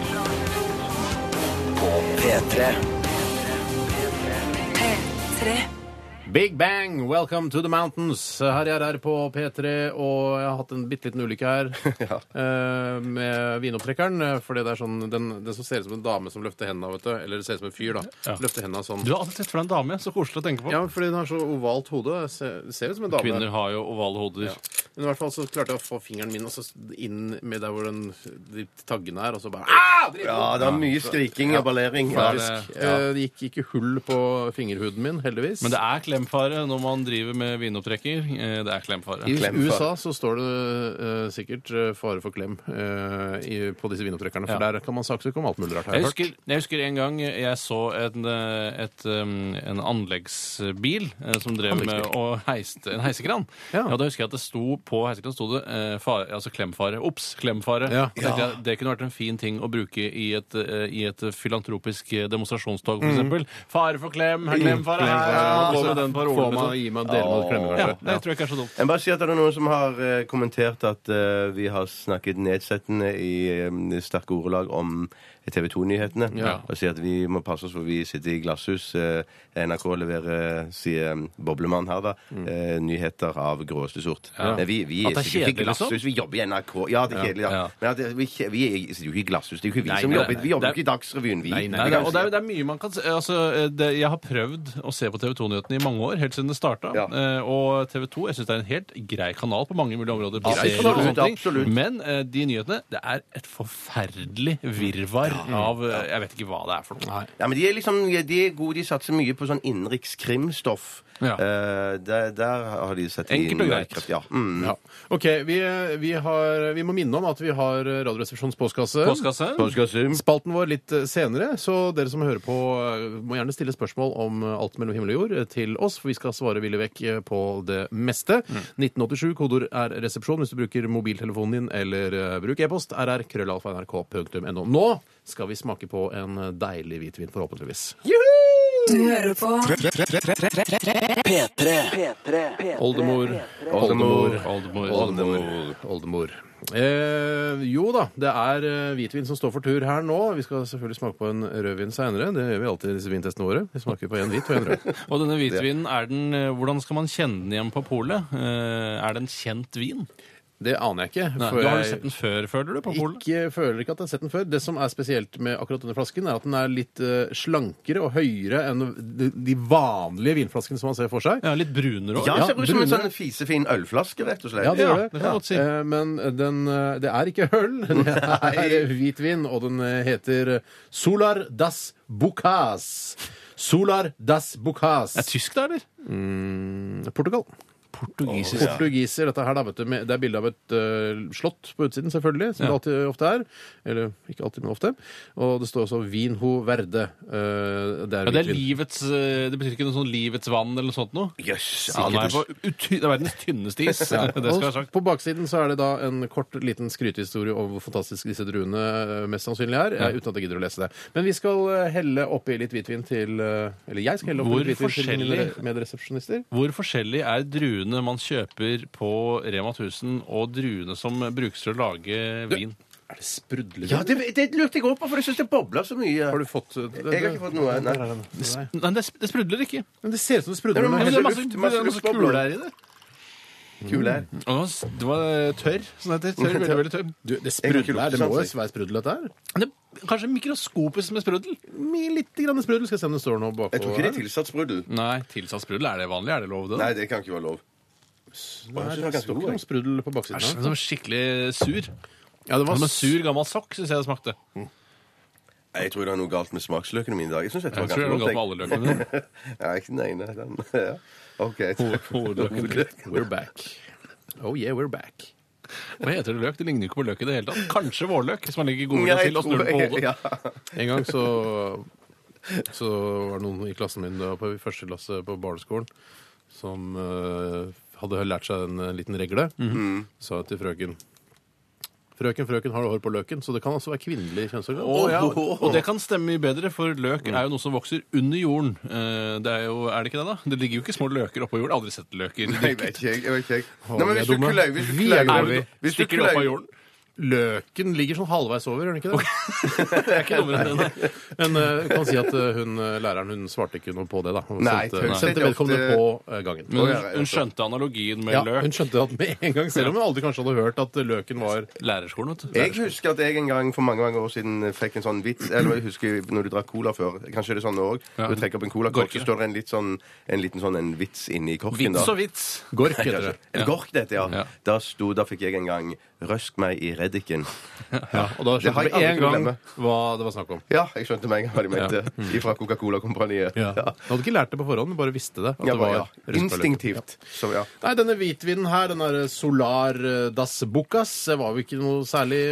På P3 P3. Big Bang, welcome to the mountains. Her jeg er her på P3, og jeg har hatt en bitte liten ulykke her eh, med vinopptrekkeren. eh, Fordi det er sånn den, den som ser ut som en dame som løfter hendene, vet du. Eller det ser ut som en fyr, da. Ja. Løfter hendene sånn. Du har alltid sett for deg en dame. Så koselig å tenke på. Ja, fordi den har så ovalt hode. Ser, ser ut som en dame. Kvinner har jo ovale hoder. Men i hvert fall så klarte jeg å få fingeren min også inn med der hvor den, de taggene er, og så bare ah! Dritt! Ja, det er mye skriking og ballering. Ja, det- Faktisk. Eh, Det gikk ikke hull på fingerhuden min, heldigvis. Men det er klemfare når man driver med vinopptrekker. Eh, Det er klemfare. I Klem for- USA så står det eh, sikkert eh, fare for klem eh, i, på disse vinopptrekkerne, for Ja. der kan man saksøke om alt mulig rart. har Jeg jeg hørt. husker, jeg husker en gang jeg så en, eh, et, um, en anleggsbil eh, som drev med Anleggsbil. å heiste en heisekran. Ja. Ja. da husker jeg at det sto på heisekranen sto det eh, fare, altså klemfare. Ops, klemfare. Ja. Da tenkte Jeg, det kunne vært en fin ting å bruke i et, eh, i et filantropisk eh, demonstrasjonstog, Mm. for eksempel. Fare for klem, her klemfare her. Ja, Ja, altså, så med den får parolen. man liksom. gi meg dele med klemmer, Ja, kanskje. det tror jeg ikke er så dumt. Jeg må bare si at det er noen som har eh, kommentert at eh, vi har snakket nedsettende i eh, sterke ordelag om TV 2-nyhetene. Ja. Og sier at vi må passe oss for vi sitter i glasshus. eh, NRK leverer, sier eh, Boblemann her, da, eh, nyheter av gråeste sort. Men vi, vi Mm. At det er sitter jo ikke i kjedelig, liksom? glasshus, vi jobber i NRK. Ja, det er kjedelig, da. Ja. Men at det, vi, kje- vi sitter jo ikke i glasshus. Det er jo ikke vi Nei, som nei, jobber. nei, Vi jobber det jo er- ikke i Dagsrevyen, vi. Nei, det er, og det er, det er mye man kan s- altså, det, Jeg har prøvd å se på TV 2-nyhetene i mange år, helt siden det starta. Ja. Eh, og TV 2 jeg synes det er en helt grei kanal på mange mulige områder. på Absolutt, serier og sånne ting. absolutt. Men eh, de nyhetene Det er et forferdelig virvar av eh, Jeg vet ikke hva det er for noe. Ja, men de er liksom, de er gode, de satser mye på sånn innenrikskrimstoff. Ja. Eh, der, der har de sett Enkelt og mye greit. kraft, Ja. Mm. Ja. OK, vi, eh, vi, har, vi må minne om at vi har eh, Radioresepsjonens postkasse. Postkasse? Mm. Mm. Spalten vår litt eh, senere, så dere som hører på, eh, må gjerne stille spørsmål om eh, alt mellom himmel og jord eh, til oss, for vi skal svare villig vekk eh, på det meste. Mm. 1987, kodeord er resepsjon hvis du bruker mobiltelefonen din, eller eh, bruk e-post, rr.krøllalfa.nrk.no. Nå skal vi smake på en deilig hvitvin, forhåpentligvis. Du hører på P3 P3 Oldemor. Oldemor. Oldemor. Oldemor. Oldemor. Eh, jo da, det er eh, hvitvin som står for tur her nå. Vi skal selvfølgelig smake på en rødvin seinere. Det gjør vi alltid i disse vintestene våre. Vi smaker på en hvit og en rød. Og denne hvitvinen, er den, eh, hvordan skal man kjenne den igjen på polet? Eh, er det en kjent vin? Det aner jeg ikke. Nei, for du har jeg jo sett den før, føler du, på polet? Ikke, føler ikke at jeg har sett den før. Det som er spesielt med akkurat denne flasken, er at den er litt eh, slankere og høyere enn de, de vanlige vinflaskene som man ser for seg. Ja, litt brunere også. Ja, ser ut som en brune. sånn fisefin ølflaske, rett og slett. Ja, det gjør det. det kan jeg godt si. Eh, Men den, eh, det er ikke øl, det er hvitvin, og den eh, heter Solar das Bucas. Solar das Bucas. Er det tysk, da, eller? Portugal. Portugisisk. Portugiser, dette her, da, vet du. med- Det er bilde av et eh, slott på utsiden, selvfølgelig, som det alltid ofte er. Eller ikke alltid, men ofte. Og det står også Vinho Verde. Eh, det er Ja, det, er hvitvin. livets, eh, det betyr ikke noe sånn livets vann eller noe sånt noe? Jøss. Ja, det, er på uty- det er verdens tynneste is. Det skal være Og sagt. på baksiden så er det da en kort liten skrytehistorie om hvor fantastisk disse druene eh, mest sannsynlig er, eh, uten at jeg gidder å lese det. Men vi skal eh, helle oppi litt hvitvin til eh, Eller jeg skal helle oppi Hvor litt hvitvin til mine forskjellig- re- medresepsjonister. Hvor forskjellig er druene man kjøper på Rema 1000, og druene som brukes til å lage vin? Er det sprudlevin? Ja, det, det lurte jeg òg på, for jeg syns det bobler så mye. Har du fått eh, det, Jeg har ikke fått noe, nei. Der er den. Nei. Nei, det, sp- det sprudler ikke. Men det ser ut som det sprudler. Nei, men- nå. Men det er masse, luft, det masse er masse luftbobler. kuler i det. Kul her. Og det var s- det var tørr. Sånn heter det. Tørr, veldig, veldig tørr. Du, det Jeg kan ikke sprudler, lukte det må sans, jeg. jo være sprudel, dette her. Det er kanskje mikroskopisk med sprudel? Mi- Litt grann sprudel. Skal jeg se om det står noe bakpå. Jeg tror ikke det er her. tilsatt sprudel. Nei, tilsatt sprudel. Er det vanlig? Er det lov, det? Nei, da? det kan ikke være lov. Nei, Jeg synes den er det står ganske ikke god, noe sprudel på baksiden. Æsj, her. det var skikkelig sur. Ja, det Som var en sur gammel sokk, syns jeg det smakte. Nei, Jeg tror det er noe galt med smaksløkene mine i dag. Jeg synes dette Jeg var tror det er noe ganske galt med alle godt. løkene dine. jeg. Ja, ikke den ene. Den. Ja. OK. Ho- hovedløken. We're back. Oh yeah, we're back. Hva heter det løk? Det ligner jo ikke på løk i det hele tatt. Kanskje vårløk, hvis man legger godvilje Nei, til og snur den på hodet. ja. En gang så, så var det noen i klassen min da, på første klasse på barneskolen som eh, hadde lært seg en eh, liten regle. Mhm. Sa til frøken Frøken, frøken, har du hår på løken? Så det kan altså være kvinnelig kjønnsorgan. Å, ja. Og det kan stemme mye bedre, for løk er jo noe som vokser under jorden. Eh, Det er, jo, er det ikke det, da? Det ligger jo ikke små løker oppå jorden. Jeg har Aldri sett løker. Nei, Jeg vet ikke, jeg. jeg vet ikke. jeg. Å, Nei, vi men er hvis du dumme. kløyver hvis du Vi er kløyver- dumme. hvis du Stikker det opp av kløyver- jorden? Løken ligger sånn halvveis over, gjør den ikke det? Det er ikke dummere enn det. nei. Men eh, du kan si at eh, hun, eh, læreren hun svarte ikke noe på det, da. Hun Nei, sendte, hun sendte sendte vedkommende ofte- på eh, gangen. Men Å, ja, ja, hun skjønte analogien med ja, hun løk. skjønte at med en gang, selv om hun aldri kanskje hadde hørt at eh, løken var Lærerskolen, vet du. Jeg husker at jeg en gang for mange mange år siden fikk en sånn vits Eller jeg husker når du drakk cola før. Kanskje det er sånn nå òg. Ja. Du trekker opp en colakork, Gorke. så står det en, litt sånn, en liten sånn en vits inni korken. da. Vits og vits. Gork, heter det. En Ja. gork, dette, ja. Ja. Da, sto, da fikk jeg en gang 'Røsk meg i reddiken'. Ja, og da Det har skjønte jeg vi aldri en kunnet gang glemme. hva det var snakk om. Ja, jeg skjønte meg hva de mente. Fra Coca-Cola-kompaniet. Ja. Du hadde ikke lært det på forhånd, du bare visste det. at Ja, det bare, var ja. rødt på løken. Instinktivt. Så ja. Nei, denne hvitvinen her, den derre Solar eh, Das Bucas, det var jo ikke noe særlig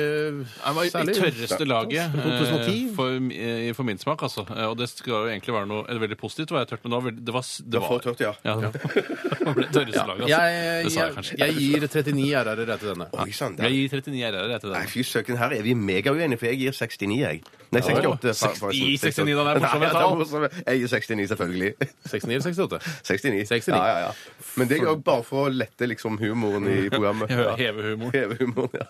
Det var i særlig- tørreste laget eh, 2010. for, eh, for min smak, altså. Eh, Og det skal jo egentlig være noe eller veldig positivt, var jeg tørt, men det var, veldig- det var, s- Det var for tørt, ja. Ja, det var det var det tørreste laget, altså. Jeg, det sa jeg jeg, kanskje. jeg gir 39 RR-er rett til denne. Oi sann. Jeg der- gir 39 RR etter Nei, det. fy søken, her er vi megauenige, for jeg gir 69, jeg. Nei, 68. fa- forresten. 69, da, det er morsomme Nei, ja, tall. morsomme. Jeg gir 69, selvfølgelig. 69 eller 68? 69. 69. Ja, ja, ja. Men det er jo bare for å lette liksom humoren i programmet. Jeg hører Ja. heve humoren. Heve humoren, ja.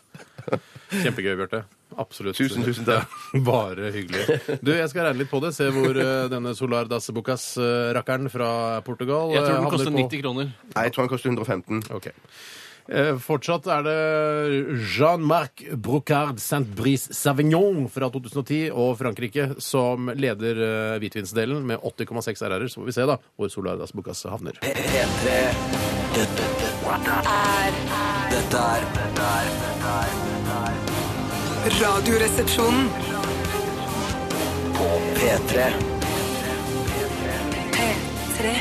Kjempegøy, Bjarte. Absolutt. Tusen, tusen takk. Bare hyggelig. Du, jeg skal regne litt på det. Se hvor eh, denne Solar Das Bucas-rakkeren fra Portugal Jeg tror eh, den havner koster på. 90 kroner. Nei, jeg tror han koster 115. Ok. Eh, fortsatt er det Jean-Marc Brocard Saint-Brice Savignon fra 2010 og Frankrike som leder eh, hvitvinsdelen med 80,6 RR-er. Så får vi se da hvor Solar Das Bucas havner. P- P3 Dette, dette, dette er Dette er Radioresepsjonen. På P3 P3.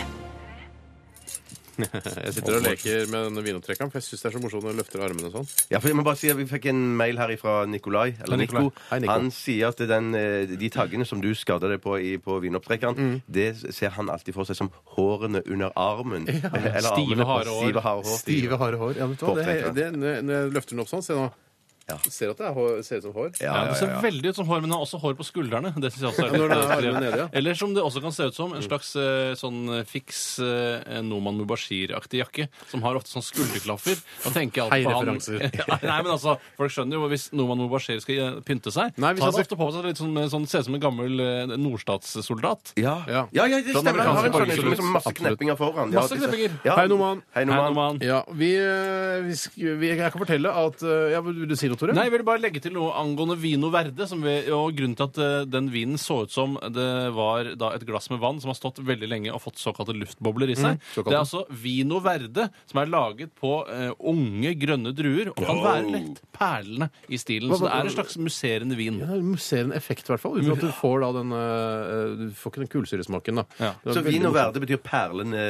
Jeg sitter og leker med denne vinopptrekkeren, for jeg syns det er så morsomt når du løfter armene sånn. Ja, for jeg må bare si at Vi fikk en mail her fra Nikolai. Eller Hei, Nikolai. Nico. Hei, Nico. Han sier at den, eh, de taggene som du skada deg på i, på vinopptrekkeren, det ser han alltid for seg som hårene under armen. Eller Stive, armene på- harde hår. Stive, harde hår. Stive, harde hår. Ja, vet du hva? Det, Opptrekkeren. det, når jeg løfter den opp sånn, se nå. Ja. Ser at det er hår, ser ut som hår. Ja, Ja, ja, det ser ja, ja. veldig ut som hår, men den har også hår på skuldrene. Det synes jeg også er Ja, når den litt har armene trivelig. nede, ja. Eller som det også kan se ut som, en Mm. slags eh, sånn fiks eh, Noman Mubashir-aktig jakke, som har ofte sånn skulderklaffer. Da tenker jeg Hei, alltid på han referanser. Nei, Nei, men altså, folk skjønner jo hvis Noman Mubashir skal eh, pynte seg, Nei, hvis tar han han skal- ofte på seg litt sånn, eh, sånn ser ut som en gammel eh, nordstatssoldat. Ja. Ja. Ja. ja, det Sånn stemmer. Han har en amerikansk sånn uniform absolutt. med sånn masse Absolutt. kneppinger foran. Masse det ser- kneppinger. Ja. Hei, Noman. Hei, Nei, Noman. Noman. Ja, vi, eh, vi, sk- vi Jeg kan fortelle at eh, ja, Vil du si noe, Tore? Nei, jeg vil bare legge til noe angående Vino Verde. Som vi, og grunnen til at eh, den vinen så ut som det var da et glass med vann som har stått veldig lenge og fått såkalte luftbobler i seg. Mm, såkalte. det er altså Vino Verde som er laget på eh, unge, grønne druer og kan være lett perlende i stilen. Så det er en slags musserende vin. Ja, Du ser en effekt, i hvert fall. Uten at du får da den eh, Du får ikke den kullsyresmaken, da. Ja. Det er Så veldig vin og morsomt. verde betyr perlende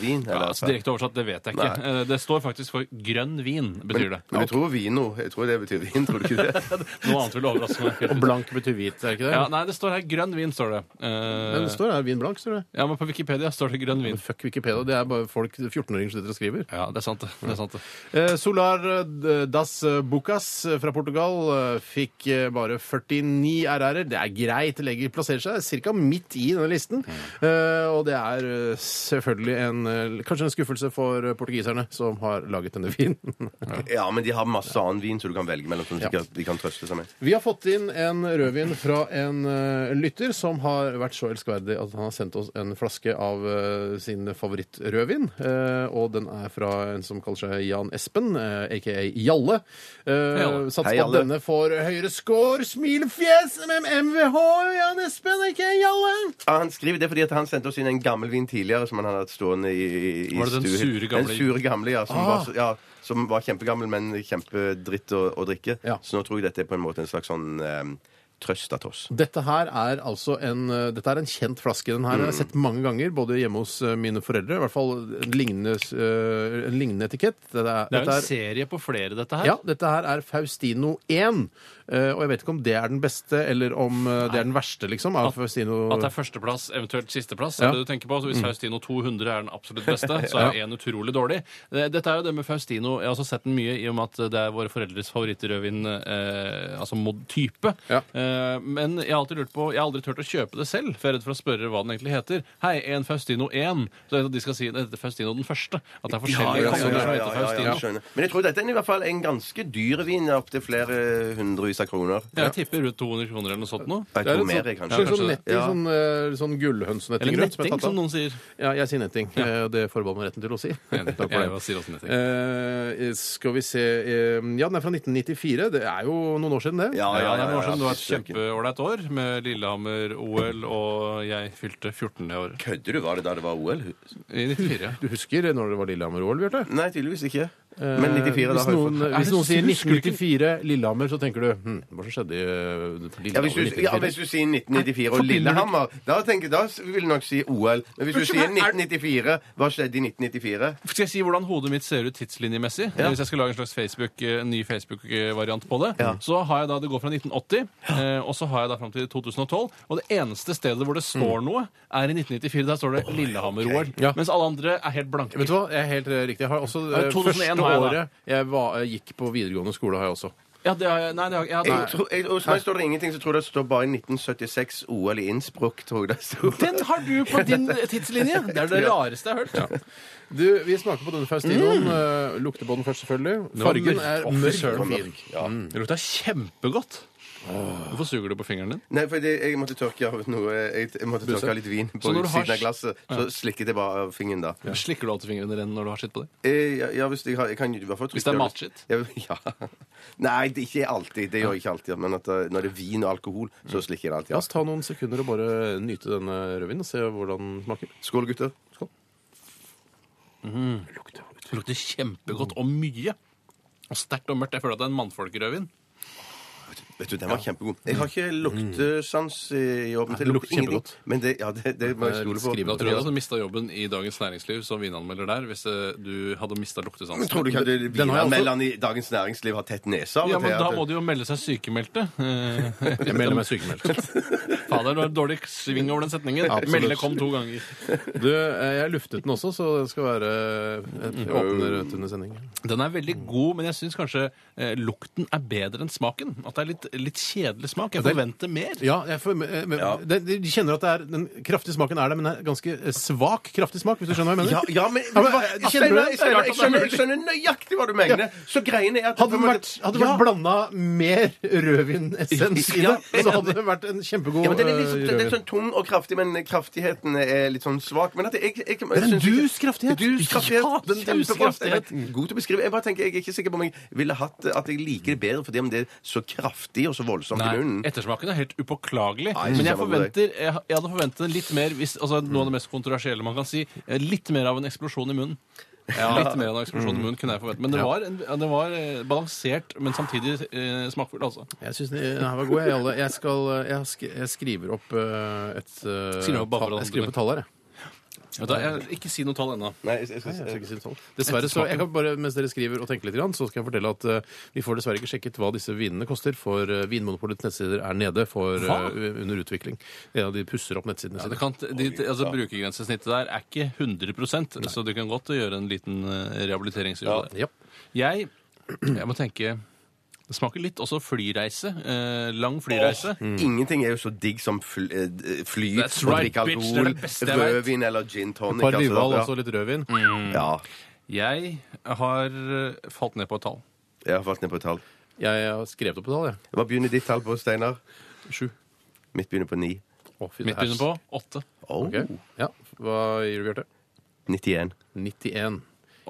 vin? Ja, eller? altså Direkte oversatt, det vet jeg ikke. Nei. Eh, Det står faktisk for grønn vin, betyr det. Men jeg tror vino. Jeg tror det betyr vin, tror du ikke det? Noe annet ville overraske meg. helt Og ut. blank betyr hvit, er det ikke det? Ja, nei, det står her grønn vin, står det. Eh, Men det står her vin blank, står det. ja, men på Wikipedia står det grønn vin. Fuck Wikipedia. Det er bare folk 14-åringer som sitter og skriver. Ja, det er sant, det. det, er sant, det. Eh, Solar eh, Das Bucas eh, fra Portugal eh, fikk eh, bare 49 RR-er. Det er greit. det Legger, plasserer seg ca. midt i denne listen. Eh, og det er eh, selvfølgelig en, eh, kanskje en skuffelse for eh, portugiserne som har laget denne vinen. Ja, men de har masse annen vin som du kan velge mellom, som de Ja. kan- de kan trøste seg med. Vi har fått inn en rødvin fra en eh, lytter som har vært så elskverdig at han har sendt oss en flaske av eh, sin favorittrødvin. Eh, og den er fra en som kaller seg Jan Espen, eh, aka Jalle. Uh, Jalle. Sats Hei, på at Jalle. denne får høyere score, smilefjes, mm, MVH, Jan Espen, aka Jalle. Ja, Ah, han skriver det fordi at han sendte oss inn en gammel vin tidligere som han hadde hatt stående i, i Var det den stue- sure gamle? Den sure gamle, ja. Som, Ah. var, så- ja, som var kjempegammel, men kjempedritt å, å drikke. Ja. Så nå tror jeg dette er på en måte en slags sånn eh, Trøstatos. Dette her er altså en, eh, dette er en kjent flaske. Den her har jeg sett mange ganger, både hjemme hos eh, mine foreldre. I hvert fall en lignende, s- eh, en lignende etikett. Dette er, Det er jo dette en serie på flere, dette her. ja, dette her er Faustino 1. eh, og jeg vet ikke om det er den beste, eller om eh, det er den verste, liksom. Av Faustino At det er førsteplass, eventuelt sisteplass. Ja. Mm. Er det du tenker på? Så hvis Faustino 200 er den absolutt beste, så er én utrolig dårlig. Eh, Dette er jo det med Faustino. Jeg har også sett den mye i og med at det er våre foreldres favorittrødvin, eh, altså mod type. Ja. Eh, men jeg har alltid lurt på Jeg har aldri turt å kjøpe det selv, for jeg er redd for å spørre hva den egentlig heter. Hei, en Faustino 1. Så jeg vet at de skal si det heter Faustino den første. At det er forskjellige ja, ja, kalender som ja, heter Faustino. jeg skjønner. Men jeg tror dette er i hvert fall en ganske dyr vin, opptil flere hundrevis av kroner. Jeg tipper rundt 200 kroner eller noe sånt nå. Jeg Det er tror en mer, jeg, sånn, kanskje. slags sånn netting, Ja. sånn sånn, eh, sånn gullhønsenetting Eller rundt. som jeg netting, har tatt av. som noen sier. Ja, jeg sier netting. eh, og Det forbeholder meg retten til å si. Takk for Jeg det. sier også netting. Eh, skal vi se eh, Ja, den er fra 1994. Det er jo noen år siden, det. Ja, Ja, det er noen år ja, siden det var et fy søken. kjempeålreit år med Lillehammer-OL, og jeg fylte 14 det året. Kødder du? Var det da det var OL? I 94. Du husker når det var Lillehammer-OL, Bjarte? Nei, tydeligvis ikke. Men 94, da Eh, har hvis jeg noen, fått hvis noen sier du skulle ikke- 1994 Lillehammer, så tenker du hm, Hva som skjedde i eh, ja, hvis, du, Lillehammer? ja, hvis du sier 1994 og Lillehammer, da, tenker, da vil du nok si OL. Men hvis du sier 1994, hva skjedde i 1994? Skal jeg si hvordan hodet mitt ser ut tidslinjemessig? Hvis jeg skal lage en slags Facebook, en ny Facebook-variant på det, så har jeg da det går fra 1980, eh, og så har jeg da fram til 2012. Og det eneste stedet hvor det står noe, er i 1994. Der står det Lillehammer-OL. Ja. Mens alle andre er helt blanke. Vet du hva, jeg er helt eh, riktig. Jeg har også eh, Ja, 2001 Første har jeg, da. året jeg, var, jeg gikk på videregående skole, har jeg også. Ja, det har jeg, nei, det har jeg, ja, Jeg det- tror, jeg, hos meg står det ingenting, så jeg tror det står bare 1976 OL i Innsbruck. Tror jeg det står. Den har du på din tidslinje! Det er det rareste jeg har hørt. Du, Vi smaker på denne Faustinoen. eh, lukter på den først, selvfølgelig. var mørk. Fargen er Å, fy mørk søren. og fin. Ja. Det lukta kjempegodt. Hvorfor suger du på fingeren din? Nei, for det, jeg måtte tørke av noe Jeg, jeg måtte tørke av litt vin på Så når du har utsiden av glasset. Så slikket jeg bare av fingeren da. Slikker du alltid fingrene dine når du har skitt på dem? Eh, Ja, ja, hvis jeg, har, jeg kan jo i hvert fall trykke Hvis det er av- matskitt? Ja, ja. Nei, det er ikke alltid. Det gjør jeg ikke alltid. Men at eh, når det er vin og alkohol, så slikker jeg det alltid. La av. oss ta noen sekunder og bare nyte denne rødvinen og se hvordan den smaker. Skål, gutter. Det lukter kjempegodt og mye. Og sterkt og mørkt. Jeg føler at det er en mannfolkrødvin. Vet du, Den var kjempegod. Jeg har ikke luktesans i år. men det det lukter lukter ingenting. Men det, ja, det, det må jeg Det er stole på. litt skrivende Jeg altså. tror du hadde mista jobben i Dagens Næringsliv som vinanmelder der hvis eh, du hadde mista Men tror luktesansen. du ikke at Den har jeg også- vinanmelderne i Dagens Næringsliv har tett nese? av og Ja, men til? Da At- må de jo melde seg sykemeldte. Eh, Jeg melder meg sykemeldt. Fader, det var en dårlig sving over den setningen. Absolutt. Melde kom to ganger. Du, eh, jeg luftet den også, så den skal være jeg åpner rett under sending. Den er veldig god, men jeg syns kanskje eh, lukten er bedre enn smaken. At det er litt, litt kjedelig smak. Jeg Det er- forventer mer. Ja, jeg får, eh, men, Ja. Det, de kjenner at det er, den kraftige smaken er der, men det er ganske eh, svak kraftig smak, hvis du skjønner hva jeg Ja, mener? ja, men, men- Hva- jeg jeg, skjønner skjønner, det. jeg, skjønner, jeg, skjønner, jeg skjønner nøyaktig hva du mener. Så greiene er at Hadde det vært, hadde det Ja. vært blanda mer rødvinessens i det, Ja, jeg er så hadde det vært en kjempegod Ja, men den er, eh, liksom, den er rødvin. sånn tung og kraftig, men kraftigheten er litt sånn svak. Men at jeg, jeg, jeg, jeg, er en synes ikke- dus kraftighet. Dus kraftighet. Ja, den Kjempebra. dus kraftighet. Jeg vet, God til å beskrive. Jeg bare tenker, jeg er ikke sikker på om jeg ville hatt at jeg liker det bedre fordi om det er så kraftig og så voldsomt i munnen. Ettersmaken er helt upåklagelig. Nei, jeg synes men jeg, jeg var god forventer, jeg, jeg hadde forventet en litt mer hvis, altså, Noe av det mest kontroversielle man kan si. eh, Litt mer av en eksplosjon i munnen. Litt mer av en eksplosjon i munnen kunne jeg forvente. Men det var, en, ja, det var eh, balansert, men samtidig eh, smakfull, altså. Jeg syns den her var god. Jeg, alle. jeg, skal, eh, jeg, sk jeg skriver opp eh, et eh, Skriver opp bare for tall- å- Jeg skriver på tallet her, jeg. Vet du, jeg, ikke si noe tall ennå. Nei, jeg, jeg, jeg, Jeg skal jeg, ikke si det sånn. Dessverre, så jeg kan bare, Mens dere skriver og tenker litt, grann, så skal jeg fortelle at eh, vi får dessverre ikke sjekket hva disse vinene koster, for eh, Vinmonopolets nettsider er nede for, eh, Hva? under utvikling. Ja, de pusser opp nettsidene Ja, det sine. kan, de, altså, Brukergrensesnittet der er ikke 100 så du kan godt gjøre en liten eh, rehabiliteringsjobb. der. Ja. Jeg, jeg må tenke Det smaker litt også flyreise. Eh, lang flyreise. Mm. Ingenting er jo så digg som fly, eh, d- fly That's og right, drikke bitch. Det er det alkohol, beste jeg vet. rødvin eller gin tonic. Par Vival, altså, altså litt rødvin. ja. Jeg har eh, falt ned på et tall. ja, jeg har falt ned på et tall. Jeg har skrevet opp på tallet, jeg. Hva begynner ditt tall på, Steinar? Sju. Mitt begynner på ni. Å, fy, det Midt her- begynner på åtte. Oh. Ok. Ja. Hva gir du, Bjarte? 91. 91.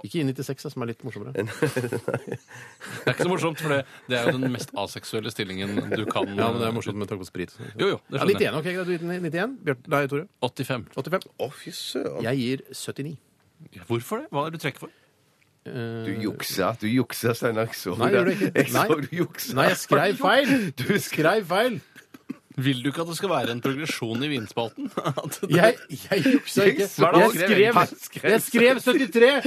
Ikke i 96, da, som er litt morsommere. Det er ikke så morsomt, for det, det er jo den mest aseksuelle stillingen du kan. Ja, men det er morsomt med tanke på sprit. Jo, jo, det Ja, skjønner jeg. 91, ok, greit. Du gir den 91. Bjarte, nei, Tore. 85. 85. Å, fy søren. Jeg gir 79. Hvorfor det? Hva er det du trekker for? Eh, Du juksa, du juksa, Steinar. Jeg så Nei, det. gjør du ikke. Jeg Nei. så du juksa. Nei, jeg skrev feil! Du Skrev feil! Vil du ikke at det skal være en progresjon i vinspalten? At det- Jeg, jeg juksa ikke. Hva er det han Jeg skrev, skrev? jeg skrev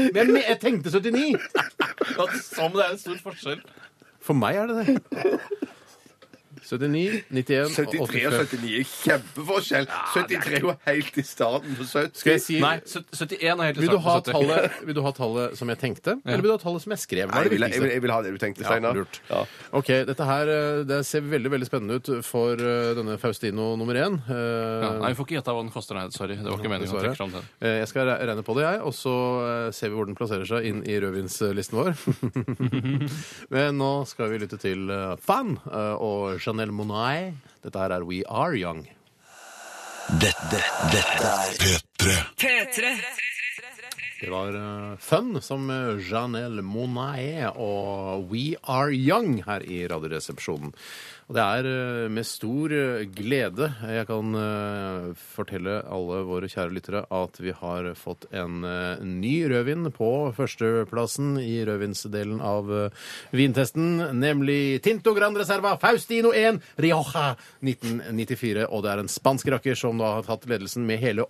73, men jeg- jeg tenkte 79. at, som det er en stor forskjell. For meg er det det. 79, 91 og 73 og 85. 79 er kjempeforskjell. 73 er jo helt i starten på 70. Skal jeg si Nei, søt- 71 er helt i vil du, starten ha av 70. tallet, vil du ha tallet som jeg tenkte, eller vil du ha tallet som jeg skrev? Hva Nei, er jeg det vil, jeg, vil, viktigste? jeg vil ha det du tenkte, Ja, Steinar. lurt. OK, dette her eh, det ser veldig veldig spennende ut for eh, denne Faustino nummer én. Eh, Ja, Nei, vi får ikke gjette hva den koster. Nei, sorry. Det var ikke meningen å dessverre. trekke fram den. Eh, Jeg skal re- regne på det, jeg, og så eh, ser vi hvor den plasserer seg inn i rødvinslisten vår. Men nå skal vi lytte til eh, Fan eh, og Chanel Monai. Dette her er We Are Young. Dette, dette er Det var eh, Fun som eh, Chanel Monai og We Are Young her i Radioresepsjonen. Og det er eh, med stor eh, glede jeg kan eh, fortelle alle våre kjære lyttere at vi har fått en eh, ny rødvin på førsteplassen i rødvinsdelen av eh, vintesten, nemlig Tinto Gran Reserva Faustino 1 Rioja 1994. Og det er en spansk rakker som da har tatt ledelsen med hele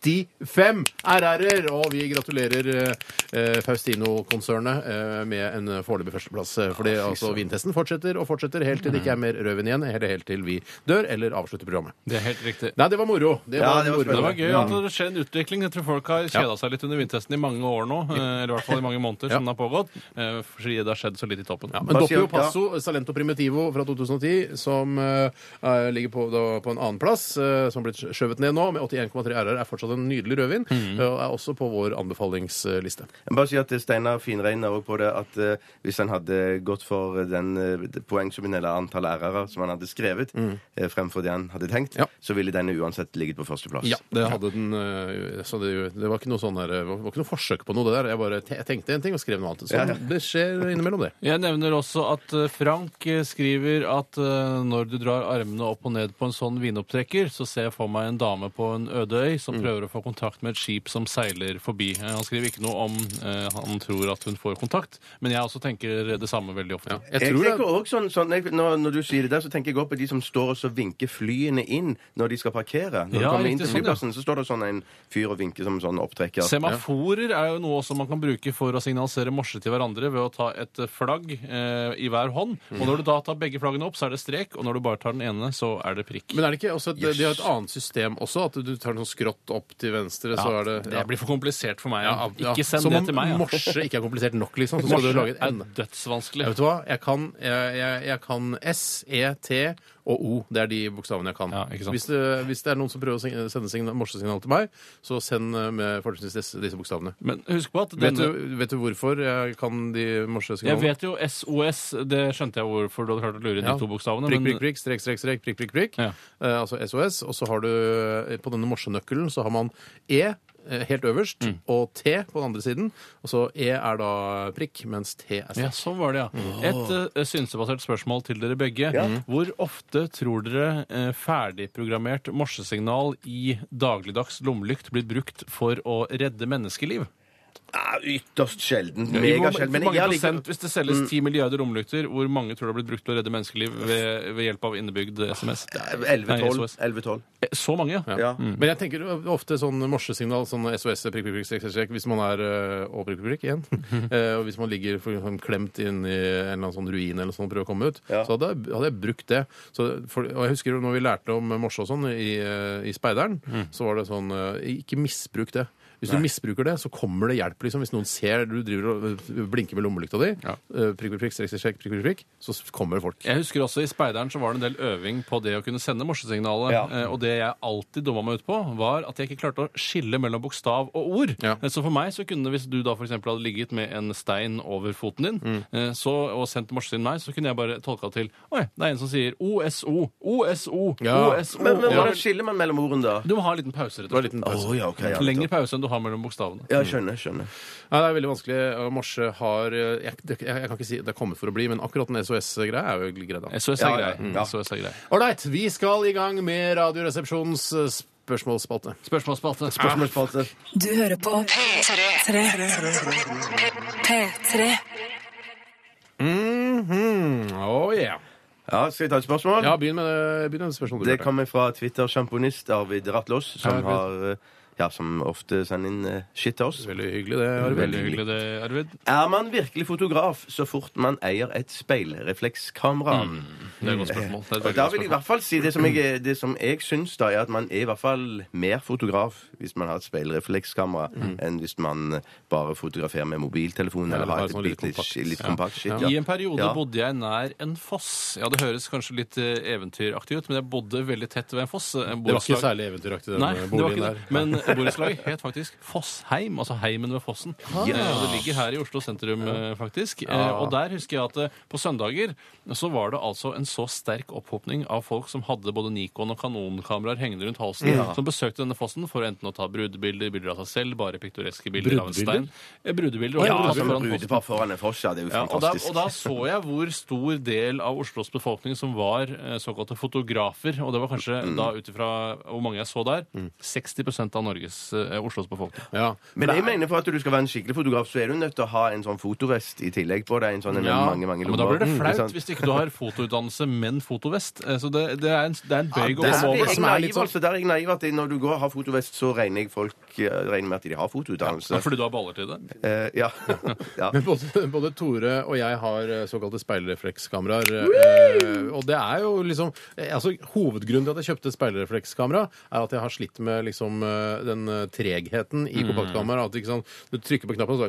85 RR-er. Og vi gratulerer eh, eh, Faustino-konsernet eh, med en foreløpig førsteplass. eh, Fordi altså vintesten fortsetter og fortsetter helt til det Mm. ikke er mer rødvin igjen, eller helt til vi dør eller avslutter programmet. Det er helt riktig. Mm. Nei, det var moro. Det Ja, var, det var Det moro. var gøy at det skjer en utvikling. Jeg tror folk har kjeda seg litt under vintertesten i mange år nå. eh, Eller i hvert fall i mange måneder, som den har pågått. eh, Fordi det har skjedd så litt i toppen. Men Hva Doppio sier- Passo, Salento Primitivo fra 2010, som eh, er- ligger på, da, på en annen plass, eh, som har blitt skjøvet ned nå, med 81,3 RR, er fortsatt en nydelig rødvin, eh, og er også på vår anbefalingsliste. Jeg må bare si at eh, Steinar finregner også på det at eh, hvis han hadde gått for den eh, det poengsummen eller antall lærere som han hadde skrevet, eh, fremfor det han hadde tenkt, Ja. så ville denne uansett ligget på førsteplass. det hadde den eh, så det, det var ikke noe sånn der, det var ikke noe forsøk på noe det der. Jeg bare te jeg tenkte en ting og skrev noe annet. Så Ja, ja. det skjer innimellom, det. Jeg nevner også at eh, Frank eh, skriver at eh, når du drar armene opp og ned på en sånn vinopptrekker, så ser jeg for meg en dame på en øde øy Mm. som prøver å få kontakt med et skip som seiler forbi. Eh, Han skriver ikke noe om eh, han tror at hun får kontakt, men jeg også tenker det samme veldig ofte. Jeg Jeg tror det tenker også sånn, sånn jeg, når, når du sier det der, så tenker jeg også på de som står og så vinker flyene inn når de skal parkere. Når Ja, du kommer inn til riktig, sånn, ja. flyplassen, så står det sånn en fyr og vinker som en sånn opptrekker. Semaforer er jo noe som man kan bruke for å signalisere morse til hverandre ved å ta et flagg eh, i hver hånd. Mm. Og når du da tar begge flaggene opp, så er det strek, og når du bare tar den ene, så er det prikk. Men er det ikke også et, de har et annet system også, at du tar noe skrått opp til venstre, så er det Det blir for komplisert for meg. Ja, ja. Ikke send Som det om til meg. altså. Ja. Morse ikke er komplisert nok, liksom. Så skal Morse du lage er en dødsvanskelig. Jeg vet du hva? Jeg kan, jeg, jeg, jeg kan S, E, T og O. Det er de bokstavene jeg kan. Ja, ikke sant. Hvis, det, hvis det er noen som prøver å sing- sende signa- morsesignal til meg, så send eh, med fortrinnsvis disse, disse bokstavene. Men husk på at Vet denne du, vet du hvorfor jeg kan de Jeg morsesignalene? vet jo SOS, det skjønte jeg hvorfor du hadde klart å lure inn Ja. de to bokstavene. Prikk, men- prikk, prikk, strek, strek, strek, prikk, prikk, prikk. Ja. Eh, altså SOS. Og så har du eh, på denne morsenøkkelen så har man E eh, helt øverst Mm. og T på den andre siden. Og så E er da prikk, mens T er strek. Ja, sånn var det, ja. Et eh, synsebasert spørsmål til dere begge. Hvor ofte tror dere eh, ferdigprogrammert morsesignal i dagligdags lommelykt blir brukt for å redde menneskeliv? Ja, Ah, ytterst sjelden. I hvor- Megasjelden. hvor Men mange jeg liker prosent, hvis det Mm. selges 10 milliarder lommelykter, hvor mange tror det har blitt brukt til å redde menneskeliv ved, ved hjelp av innebygd SMS? Eh, Nei, 11-12. SOS. 11-12. Eh, Så mange, ja. Ja. Men jeg tenker ofte sånn morsesignal, sånn SOS, prikk, prikk, prikk, strek, strek, strek, hvis man er øh, og prikk, prikk, prikk, igjen. Eh, og hvis man ligger for eksempel klemt inn i en eller annen sånn ruin eller sånn og prøver å komme ut, Ja. så hadde jeg, hadde jeg brukt det. Så, for, og jeg husker jo når vi lærte om morse og sånn i, eh, i Speideren, Mm. så var det sånn eh, Ikke misbruk det. Hvis du misbruker det, så kommer det hjelp. liksom. Hvis noen ser du driver og øh, blinker med lommelykta di, Ja. eh, prikk, prikk, prikk, strek, strek, strek, prikk, prikk, prikk, så kommer det folk. Jeg husker også I Speideren så var det en del øving på det å kunne sende morsesignalet. Ja. eh, Og det jeg alltid dumma meg ut på, var at jeg ikke klarte å skille mellom bokstav og ord. Ja. Eh, Så for meg så kunne hvis du da for eksempel hadde ligget med en stein over foten din Mm. eh, så, og sendt morsesignalet meg, så kunne jeg bare tolka til Oi, det er en som sier OSO, OSO, Ja. OSO. Men, men Ja. hvordan skiller man mellom ordene da? Du må ha en liten pause, rett Det og var en slett. liten pause. Å, ja, ok. Ja, Lengre pause enn du har mellom bokstavene. ja, skjønner. skjønner. Nei, det er veldig vanskelig. og Morse har eh, Jeg, det- jeg, jeg kan ikke si det er kommet for å bli, men akkurat den SOS-greia er jo grei. da. SOS er Ja, ja, grei. ja. SOS er grei. Ålreit, vi skal i gang med Radioresepsjonens eh, spørsmålsspalte. Spørsmålsspalte. Spørsmålsspalte. Du hører på P3. P3. Mhm. Mm -hmm. oh, yeah. Ja, skal jeg ta et spørsmål? Ja, begynn med det, begynn med det spørsmålet. du Det lurte. kommer fra Twitter-sjamponist Arvid Ratlås, som, Arvid. har, eh, ja, som ofte sender inn eh, shit til oss. Veldig hyggelig, det, Arvid. Veldig hyggelig det, Arvid. Er man virkelig fotograf så fort man eier et speilreflekskamera? Det er et godt spørsmål. Det er et Og veldig da godt vil jeg i spørsmål. hvert fall si det som jeg, eh, det som jeg syns, da, er at man er i hvert fall mer fotograf hvis man har et speilreflekskamera, enn hvis man eh, bare fotograferer med mobiltelefon eller eller har bare et sånn litt bitte litt, kompakt. litt Ja. kompakt shit. I en periode Ja. bodde jeg nær en foss. Ja, Det høres kanskje litt eh, eventyraktig ut, men jeg bodde veldig tett ved en foss. En Det var ikke borettslag. særlig eventyraktig, den eh, Nei, det var boligen ikke der. det. Men eh, borettslaget het faktisk Fossheim, altså heimen ved fossen. Ah. Eh, og Det ligger her i Oslo sentrum, eh, faktisk. Eh, Og der husker jeg at eh, på søndager så var det altså en så sterk opphopning av folk som hadde både Nikon og kanonkameraer hengende rundt halsen, som besøkte denne fossen for enten å ta brudebilder, bilder av seg selv, bare piktoreske bilder av en Brudebilder? altså, stein. Eh, Brudebilder. Ja, altså, og- som foran fossen. brudepar foran en foss, ja. Det er jo sånn Ja, og, da, fantastisk. og da så jeg hvor stor del av Oslos befolkning som var eh, såkalte fotografer. Og det var kanskje da ut ifra hvor mange jeg så der, 60 av Norges, eh, Oslos befolkning. Ja. Men jeg mener for at du skal være en skikkelig fotograf, så er du nødt til å ha en sånn fotovest i tillegg på deg. En sånn med Ja, mange, mange Men da blir det lommer. Mm, flaut Ikke sant? hvis ikke du har fotoutdannelse, men fotovest. Eh, Så det, det er en, det er en bøyg Der å er komme jeg over. som er naiv, litt sånn- altså. Der er jeg naiv at når du går og har fotovest, så regner jeg folk eh, regner med at de har fotoutdannelse. Ja, Fordi du har baller til det? Eh, ja. ja. Men både, både Tore og jeg har eh, såkalte speilreflekskameraer. eh, Og det er jo liksom eh, altså, Hovedgrunnen til at jeg kjøpte speilreflekskamera, er at jeg har slitt med liksom, eh, den eh, tregheten i kompaktkamera. At ikke sånn, du trykker på knappen, og så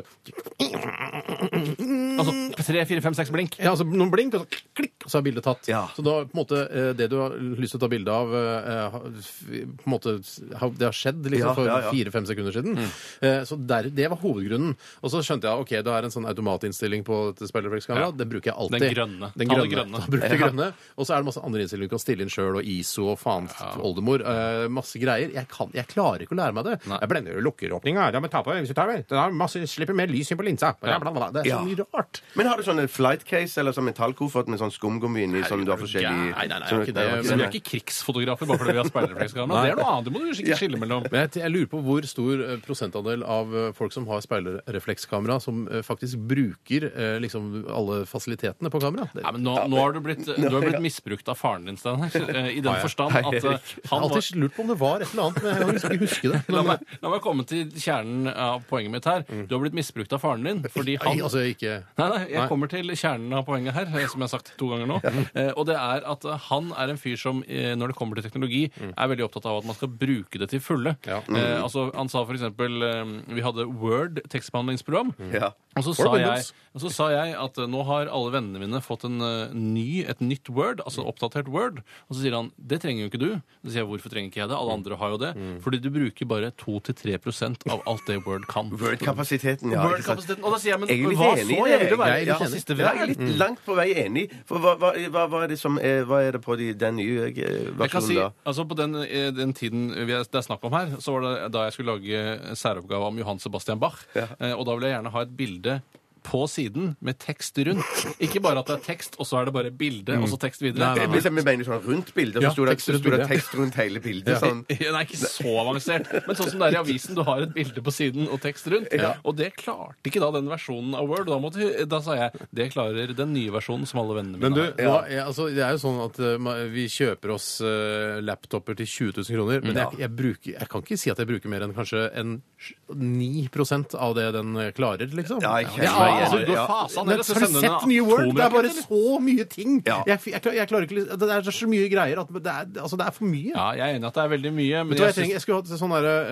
Altså tre, fire, fem, seks blink. ja, altså, noen blink, og så klikk, og så er bildet tatt. Ja. Så da på en måte eh, det du har lyst til å ta bilde av, eh, har- på en måte har- det har skjedd liksom, Ja, for ja, Mm. ja. fire-fem sekunder siden. Eh, Så der, det var hovedgrunnen. Og så skjønte jeg ok, det er en sånn automatinnstilling på dette speilreflekskameraet. Den bruker jeg alltid. Den grønne. Den Ta grønne. det grønne. Ta- bruk det grønne. Og så er det masse andre innstillinger du kan stille inn sjøl, og ISO og faen oldemor. eh, Masse greier. Jeg, kan, jeg klarer ikke å lære meg det. Jeg blender jo lukkeråpninga. Ja, men ta på hvis du tar vel. Den har masse, slipper mer lys inn på linsa. Bla, bla, bla. Det er Ja. så mye rart. Men har du sånne flight case eller sånn metallkoffert med sånn skumgummi inni som du har forskjellige Nei, nei, nei, som- ikke det. Nei, Men det vi var ikke er det. ikke krigsfotografer bare fordi vi har speilreflekskamera. Det er noe annet. Det må du skikkelig skille mellom. Men jeg, t- jeg lurer på hvor stor eh, prosentandel av eh, folk som har speilreflekskamera, som eh, faktisk bruker eh, liksom alle fasilitetene på kamera. Det, Nei, men nå, nå har du blitt, du har blitt misbrukt av faren din, Steinar. eh, I den forstand at eh, jeg har han var alltid lurt på om det var et eller annet, men jeg kan ikke huske det. La Men, meg, la meg komme til kjernen av poenget mitt her. Du har blitt misbrukt av faren din. fordi han... nei, Mm. altså, ikke... Nei, nei, jeg kommer til kjernen av poenget her, eh, som jeg har sagt to ganger nå. Eh, og det er at eh, han er en fyr som, eh, når det kommer til teknologi, er veldig opptatt av at man skal bruke det til fulle. Mm. Ja. Eh, altså, han sa for eksempel eh, Vi hadde Word tekstbehandlingsprogram. Mm. Ja. Og så, Or sa jeg, Windows. og så sa jeg at eh, nå har alle vennene mine fått en eh, ny, et nytt Word, altså Mm. oppdatert Word. Og så sier han det trenger jo ikke du. Så sier jeg hvorfor trenger ikke jeg det? Mm. Alle andre har jo det. Fordi du bruker bare 2-3 av alt det Word kan. Word-kapasiteten, ja. ikke sant? Word-kapasiteten. Og da sier jeg, Jeg er men litt hva enig i så? det, Jeg vil jo være jeg er ja, litt enig. siste Ja, jeg er venn. litt langt på vei enig. For hva, hva, hva, hva er det som er, hva er det på de, den nye eh, Jeg kan versjonen, si, da? altså På den, eh, den tiden vi er, det er snakk om her, så var det da jeg skulle lage særoppgave om Johan Sebastian Bach. Eh, Og da ville jeg gjerne ha et bilde på siden med tekst rundt. Ikke bare at det er tekst, og så er det bare bilde, og så tekst videre. Mm. Nei, nei, nei. Hvis jeg mener sånn rundt bildet, så Ja, sto det, tekst så rundt sto det bildet. tekst rundt hele bildet. Sånn. Ja, Nei, ikke så avansert. Men sånn som det er i avisen, du har et bilde på siden og tekst rundt. Og det klarte ikke da den versjonen av Word. og Da, måtte, da sa jeg det klarer den nye versjonen som alle vennene Men du, mine har. nå, jeg, altså, det er jo sånn at eh, ma- vi kjøper oss eh, laptoper til 20 000 kroner, men jeg, jeg, bruker, jeg kan ikke si at jeg bruker mer enn kanskje en sj- 9 av det den eh, klarer, liksom. Ja, jeg kjenner Ja, meg altså, igjen. du Ja. går fasa Men ned og så har du sender sett den New World? Det er bare atomraketter, eller? så mye ting! Ja. Jeg, jeg, klar- jeg klarer ikke liksom- Det er så mye greier at det er, altså, det er for mye. Ja, jeg er enig i at det er veldig mye, Vet du men hva jeg jeg trenger? Jeg skulle hatt sånn der,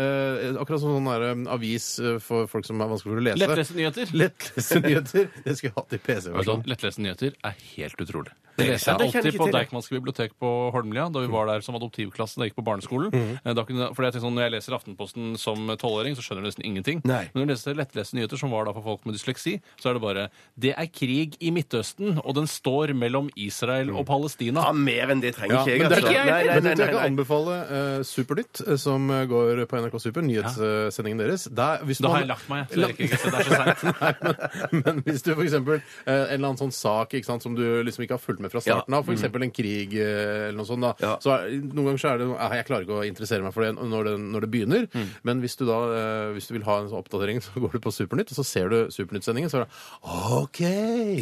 eh, akkurat sånn der, eh, avis eh, for folk som er vanskelig for å lese. Lettleste nyheter? Lettleste nyheter. Det sånn? skulle jeg hatt i synes PC-versjonen. Lettleste nyheter er helt utrolig. Det leste sant, jeg det kjenner alltid jeg på ikke til. Deichmanske bibliotek på Holmlia da vi var der som adoptivklasse da jeg gikk på barneskolen. Mhm. Eh, Da kunne, fordi jeg tenkte sånn, Når jeg leser Aftenposten som tolvåring, så skjønner jeg nesten ingenting. Nei. Men når du leser lettleste nyheter, som var da for folk med dysleksi, så er det bare Det er krig i Midtøsten, og den står mellom Israel Mm. og Palestina. Ja, mer enn det trenger Ja, ikke jeg, men det er altså. ikke jeg Nei, nei, nei, heller. Men du, Jeg nei, kan nei. anbefale eh, Supernytt, eh, som går på NRK Super, nyhetssendingen deres. Der, hvis Da man- har jeg lagt meg, så jeg rekker ikke se. Det er så seint. Nei, men, men hvis du f.eks. Uh, en eller annen sånn sak ikke sant, som du liksom ikke har fulgt med fra starten Mm. av, f.eks. en krig eh, eller noe sånt, da, Ja. så er, noen ganger så er det noe, «Ah, Jeg klarer ikke å interessere meg for det når det, når Mm. det begynner, men hvis du da eh, hvis du vil ha en sånn oppdatering, så går du på Supernytt, og så ser du Supernytt-sendingen, så står det OK,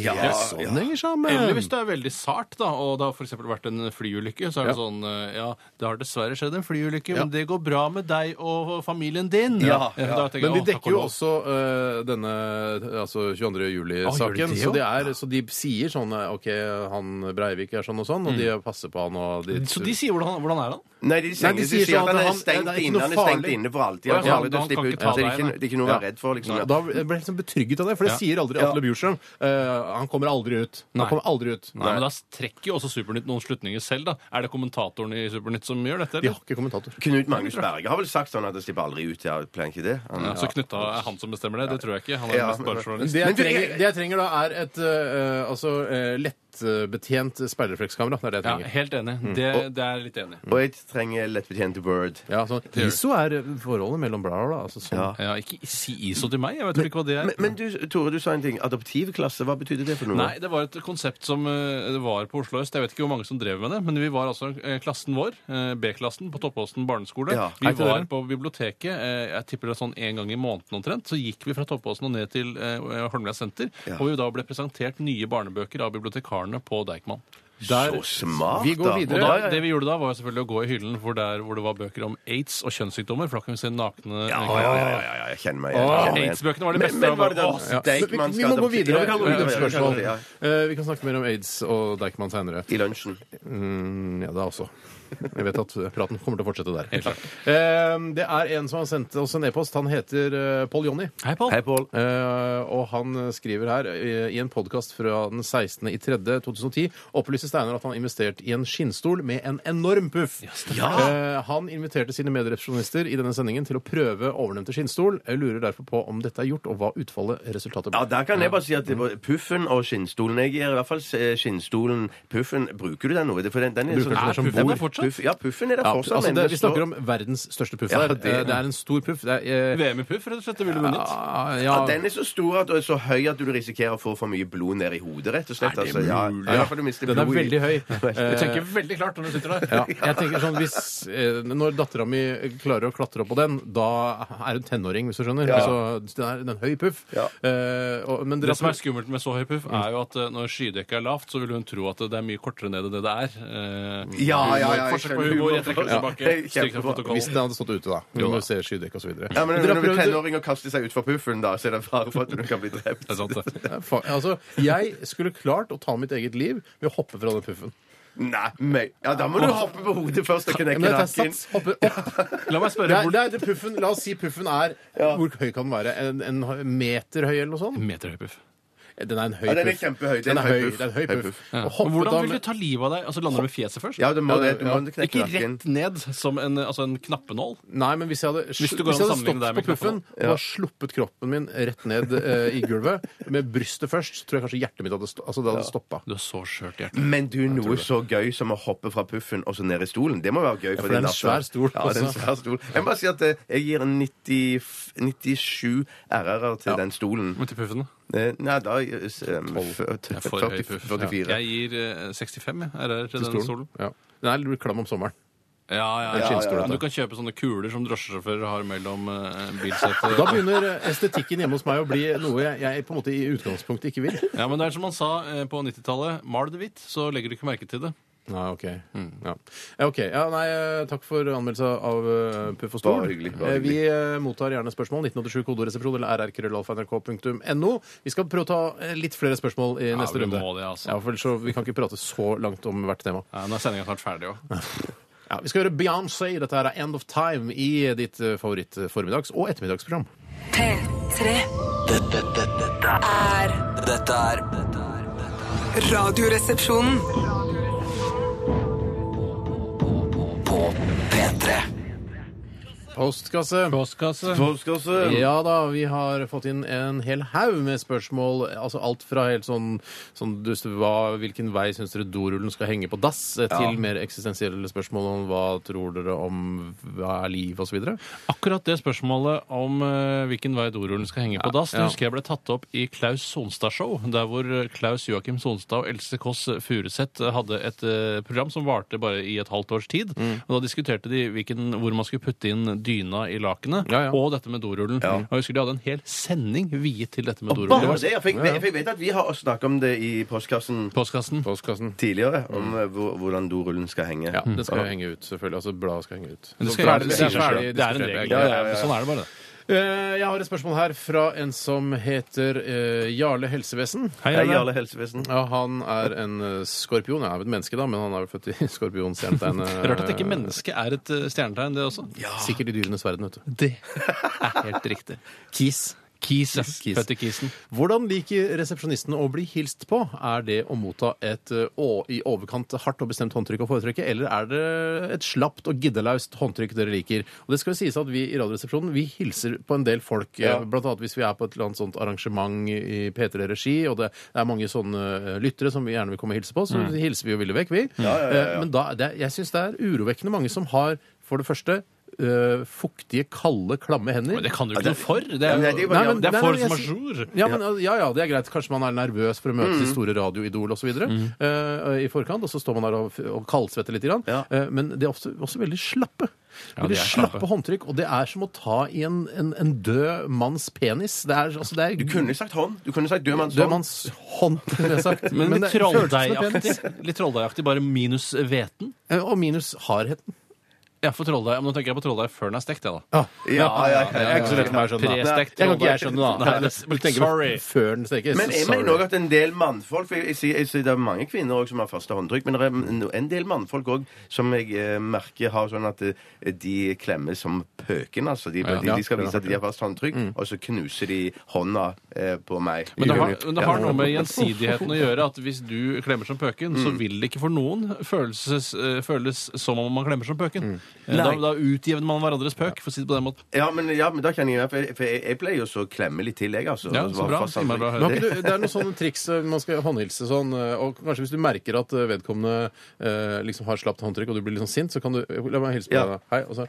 ja, Ja, sånn ja. henger sammen. Eller hvis det er veldig sært, da, og det har for eksempel vært en flyulykke, så er det sånn eh, Ja, det har dessverre skjedd en flyulykke, men det går bra med deg og familien din. Ja, Eh, ja. da tenker jeg, Men de «Å, takk dekker og jo lov». også eh, denne altså 22. Å, Ah, gjør de juli-saken. det så, også? de er- så de sier sånn eh, OK, han Breivik er sånn og sånn, og de passer på han og de, Mm. Så de sier hvordan, hvordan er han? Nei, de sier, Nei, de de sier sier at sånn han at er han- stengt det er ikke inne noe han er stengt farlig. inne for alltid. Ja, Han er farlig til å han kan slippe ut. ikke ta Så det er deg, ikke, nei. det er ikke noe å være redd for. Nei. liksom. Da ble jeg liksom betrygget av det, for det Ja. sier aldri Atle Bjurstrøm. Eh, han kommer aldri ut. Han Nei. kommer aldri ut. Nei, men Da trekker jo også Supernytt noen slutninger selv. da. Er det kommentatoren i Supernytt som gjør dette? De eller? har ikke kommentator. Knut Magnus Berge har vel sagt sånn at det slipper aldri ut. Ja, pleier han ikke det? Han- Ja, så Knutta er han som bestemmer det? Det tror jeg ikke. Han er Ja, mest bare men- journalist. Det jeg, Men du, trenger, jeg- det jeg trenger da, er et eh, altså, eh, lettbetjent speilreflekskamera. Det er det jeg Ja, trenger. helt enig. Det, det er jeg litt enig. i. Og jeg trenger lettbetjent Word. Ja, sånn. ISO er forholdet mellom bla, bla, bla. Altså, sånn. Ja. Ja, ikke si ISO til meg. Jeg vet ikke hva det er. Men, men du, Tore, du sa en ting. Adoptivklasse, hva betydde det for noe? Nei, det var et konsept som eh, det var på Oslo øst. Jeg vet ikke hvor mange som drev med det, men vi var altså eh, klassen vår, eh, B-klassen, på Toppåsen barneskole. Ja, vi hei til var dere. på biblioteket, eh, jeg tipper det er sånn en gang i måneden omtrent, så gikk vi fra Toppåsen og ned til eh, Holmlia senter, Ja. og vi da ble presentert nye barnebøker av bibliotekarene på Deichman. Så smart, Vi går da. Og videre. da, Ja, ja, ja. det vi gjorde da, var jo selvfølgelig å gå i hyllen for der hvor det var bøker om aids og kjønnssykdommer, for da kan vi se nakne Ja, ja, ja, ja, ja, jeg kjenner meg igjen. Åh, jeg kjenner meg igjen. AIDS-bøkene var de beste. Men, men var det Åh, den Ja. Deichman Vi, vi må skal adoptere- gå Ja, videre. vi kan gå videre. Videre spørsmål. Ja, Eh, vi kan snakke mer om aids og Deichman seinere. I lunsjen. Mm, ja, det også. Jeg vet at praten kommer til å fortsette der. Helt klart. Eh, det er en som har sendt oss en e-post. Han heter eh, Pål Jonny. Hei, Pål. Hei, Pål. Eh, og han skriver her eh, i en podkast fra den 16.3.2010 opplyser Steinar at han investerte i en skinnstol med en enorm puff. Eh, han inviterte sine medrepresjonister i denne sendingen til å prøve ovennevnte skinnstol. Jeg lurer derfor på om dette er gjort, og hva utfallet resultatet Ja, ble. der kan jeg bare si at det var puffen og skinnstolen Jeg gir i hvert fall eh, skinnstolen Puffen, bruker du den nå? Det er For den, den er Bruker den som bord? Puff, ja, puffen er der Ja, fortsatt. altså, men det, den vi står- snakker om verdens største puff Ja, her. det- Eh, det er en stor puff. Det er, eh, VM i puff, rett og slett. Det ville vunnet. ja, ja, Den er så stor at, og så høy at du risikerer å få for mye blod ned i hodet, rett og slett. Er det altså. ja, mulig? ja, i hvert fall du mister Den er blod i- veldig høy. Eh, Du tenker eh, veldig klart når du sitter der. Ja, jeg tenker sånn, hvis, eh, Når dattera mi klarer å klatre opp på den, da er hun tenåring, hvis du skjønner. Ja. Så den er den er en høy puff. Ja. Eh, og, men Det som er skummelt med så høy puff, er jo at eh, når skydekket er lavt, så vil hun tro at det er mye kortere ned enn det det er. Eh, Ja, ja, ja, humor, jeg Forsøk på skjønner humor. humor. Jeg trekker det Ja. tilbake. Kjempebra. Stryk fra protokollen. hvis den hadde stått ute, da. Jo Når da. du ser skydekk osv. Ja, men Dere når har du er prøvd- tenåring og kaster seg utfor puffen, da, så er det fare for at du kan bli drept. Det er sant, det. Ja, fa- altså, jeg skulle klart å ta mitt eget liv ved å hoppe fra den puffen. Nei, men, ja, da må du hoppe på hodet først og Ja, knekke men jeg tar nakken. sats, hopper opp. La meg spørre Nei, hvor det er, det puffen, la oss si puffen er Hvor høy kan den være? En, en meter høy, eller noe sånt? Meter høy puff. Den er en høy Ja, den er puff. kjempehøy. Det er Den en er høy høy, puff. det er en høy Høy puff. puff. Å Men hoppe da Hvordan med- vil du ta livet av deg? Altså Lander du med fjeset først? Ja, du må, Ja, det- det, du må ja. knekke Ikke nakken. rett ned som en, altså en knappenål. Nei, men hvis jeg hadde, Hvis hvis du går jeg an å hadde sammenligne stått på deg med puffen og da sluppet kroppen min rett ned eh, i gulvet, med brystet først, tror jeg kanskje hjertet mitt hadde, sto- altså, det hadde stoppa. Du er så skjørt hjerte. Men du, noe så gøy som å hoppe fra puffen og så ned i stolen, det må være gøy. for det din er en datter. svær stol, Ja, det er en altså. svær stol. Jeg må bare si at eh, jeg gir en 90, 97 RR-er til den stolen. Men til puffen, da? Eh, Nei, da eh, s- eh, Jeg er for høy 40, puff. 44. Jeg gir eh, 65 jeg, RR til den Stolen. stolen. Ja. Den her blir klam om sommeren. Ja, ja, ja, skinnstol, Men dette. Du kan kjøpe sånne kuler som drosjesjåfører har mellom uh, bilsetet Da begynner eh, estetikken hjemme hos meg å bli noe jeg, jeg på en måte i utgangspunktet ikke vil. Ja, men det er som man sa eh, på 90-tallet. Mal det hvitt, så legger du ikke merke til det. Nei, OK. Ja. Ja, ok. Ja, nei, eh, takk for anmeldelse av eh, Puff og Stol. Bare hyggelig, bare Eh, Vi eh, mottar gjerne spørsmål. 1987 kodoresepsjon eller rrkrøllalfa.nrk.no. Vi skal prøve å ta eh, litt flere spørsmål i neste vi runde. må det, altså. Ja, for ellers så, vi kan ikke prate så langt om hvert tema. Ja, nå er sendinga snart ferdig òg. Ja, vi skal høre Beyoncé. Dette her er End of Time i ditt eh, favoritt-formiddags- og ettermiddagsprogram. P3 Dette, dette, dette er er Dette er dette er Radioresepsjonen. På P3 Postkasse. Postkasse. Ja da, vi har fått inn en hel haug med spørsmål. Altså alt fra helt sånn, sånn dust, hva, hvilken vei syns dere dorullen skal henge på dass, eh, til mer eksistensielle spørsmål om hva tror dere om hva er liv, osv. Akkurat det spørsmålet om eh, hvilken vei dorullen skal henge på dass, det ja. husker jeg ble tatt opp i Klaus Sonstad-show, der hvor eh, Klaus Joakim Sonstad og Else Kåss Furuseth eh, Mm. hadde et eh, program som varte bare i et halvt års tid. Og da diskuterte de hvilken, hvor man skulle putte inn dyna i lakenet Ja, ja. og dette med dorullen. Ja. Og jeg husker de hadde en hel sending viet til dette med Bare dorullen. det, ja, for jeg, for jeg vet at vi har snakka om det i postkassen Postkassen. Postkassen. tidligere, om eh, hvor- hvordan dorullen skal henge. Mm. Ja, det skal jo henge ut, selvfølgelig. Altså, bladet skal henge ut. Men Det, Så skal, ferdig- det, er er, ferdig det er en diskutert. regel. Ja, ja, ja. Det er- Sånn er det bare. Eh, Jeg har et spørsmål her fra en som heter eh, Jarle Helsevesen. Hei, Hei, Jarle Helsevesen. Ja, Han er en eh, skorpion. Jeg er jo et menneske, da, men han er vel født i skorpionens stjernetegn. eh, Rart at ikke mennesket er et eh, stjernetegn, det også. Sikkert i dyrenes verden, vet du. Det er helt riktig. Kis. Kis, ja. Kis. Født i kisen. Hvordan liker resepsjonisten å bli hilst på? Er det å motta et eh, å, i overkant hardt og bestemt håndtrykk å foretrekke, eller er det et slapt og giddelaust håndtrykk dere liker? Og det skal jo sies at vi i Radioresepsjonen vi hilser på en del folk, eh, Ja. blant annet hvis vi er på et eller annet sånt arrangement i P3-regi, og det er mange sånne eh, lyttere som vi gjerne vil komme og hilse på, Mm. så hilser vi jo villig vekk, vi. Eh, Men da, er det, jeg syns det er urovekkende mange som har, for det første, eh, fuktige, kalde, klamme hender. Men det kan du ikke det- noe for. Det Ja, er, men det er jo- bare- Nei, men ja, det er nei, force nei, jeg majeure. Ja, men, ja, ja, det er greit. Kanskje man er nervøs for å møte de store radioidol osv. Uh, i forkant, og så står man der og, og kaldsvetter litt. Grann. Ja. Eh, men de er også, også veldig slappe. Ja, veldig de er slappe. slappe. håndtrykk, og det er som å ta i en, en, en død manns penis. Det er, altså, det er Du kunne sånn. sagt hånd. Du kunne sagt død manns død hånd. manns hånd, kunne jeg sagt. Men litt det føles som en trolldeigaktig. penis. Litt trolldeigaktig, bare minus hveten. Eh, Og minus hardheten. Ja, for trolldeig. Men nå tenker jeg på trolldeig før den er stekt, jeg, da. Ja, ja, ja, Jeg er ikke så lett for meg å skjønne. da. Prestekt Jeg kan ikke trolldeig. jeg skjønne, da. sånn, Nei, det- tenker Sorry. på Før den stekes. Men jeg Sorry. mener også at en del mannfolk for jeg, jeg, sier- jeg, sier Det er mange kvinner også som har faste håndtrykk, men det er en- en del mannfolk òg som jeg eh, merker har sånn at eh, de klemmer som pøken. Altså. De, de, ja, de skal det Mm. vise at de har fast håndtrykk, og så knuser de hånda eh, på meg. Men det, har, Ja. men det har noe med gjensidigheten å gjøre. at Hvis du klemmer som pøken, så vil det ikke for noen føles, eh, føles som om man klemmer som Mm. pøken. Eh, Da, da utjevner man hverandres pøk, for å si det på den måten. Ja, men, ja, men da kan jeg i hvert fall For jeg, jeg pleier jo så å klemme litt til, jeg, altså. Ja, Og så bare bra. fast Innmari bra håndtrykk. å høre. Men har ikke du, det er noen sånne triks eh, man skal håndhilse sånn, eh, og kanskje hvis du merker at eh, vedkommende eh, liksom har slapt håndtrykk, og du blir litt sånn sint, så kan du La meg hilse på Ja. deg, da. Hei. Og så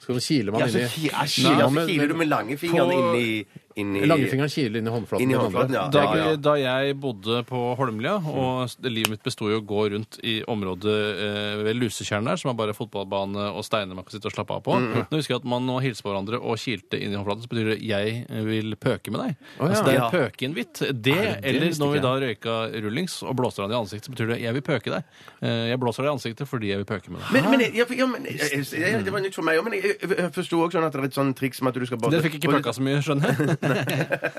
skal du kile man Ja, så inn i ki- ja, kiler, Nei, så men- kiler du med langfingeren På- inni, inni Langfingeren kiler inn i håndflaten. Inn i på den andre. håndflaten, ja. Da, da jeg bodde på Holmlia, og s- livet mitt besto i å gå rundt i området eh, ved Lusetjern der, som er bare fotballbane og steiner man kan sitte og slappe av på. Nå husker jeg at man nå hilser på hverandre og kilte inn i håndflaten, så betyr det 'jeg vil pøke med deg'. Å, ja. Altså det er Ja. pøkeinvitt. Det, det eller visste når ikke vi da røyka rullings og blåser han i ansiktet, så betyr det 'jeg vil pøke deg'. Eh, Jeg blåser deg i ansiktet fordi jeg vil pøke med deg. Men, men, ja, for- ja, men jeg, jeg, jeg, det var nytt for meg òg, men jeg, jeg, jeg forsto også sånn at det er et sånn triks med at du skal bare Dere fikk ikke pøka så mye, skjønner jeg.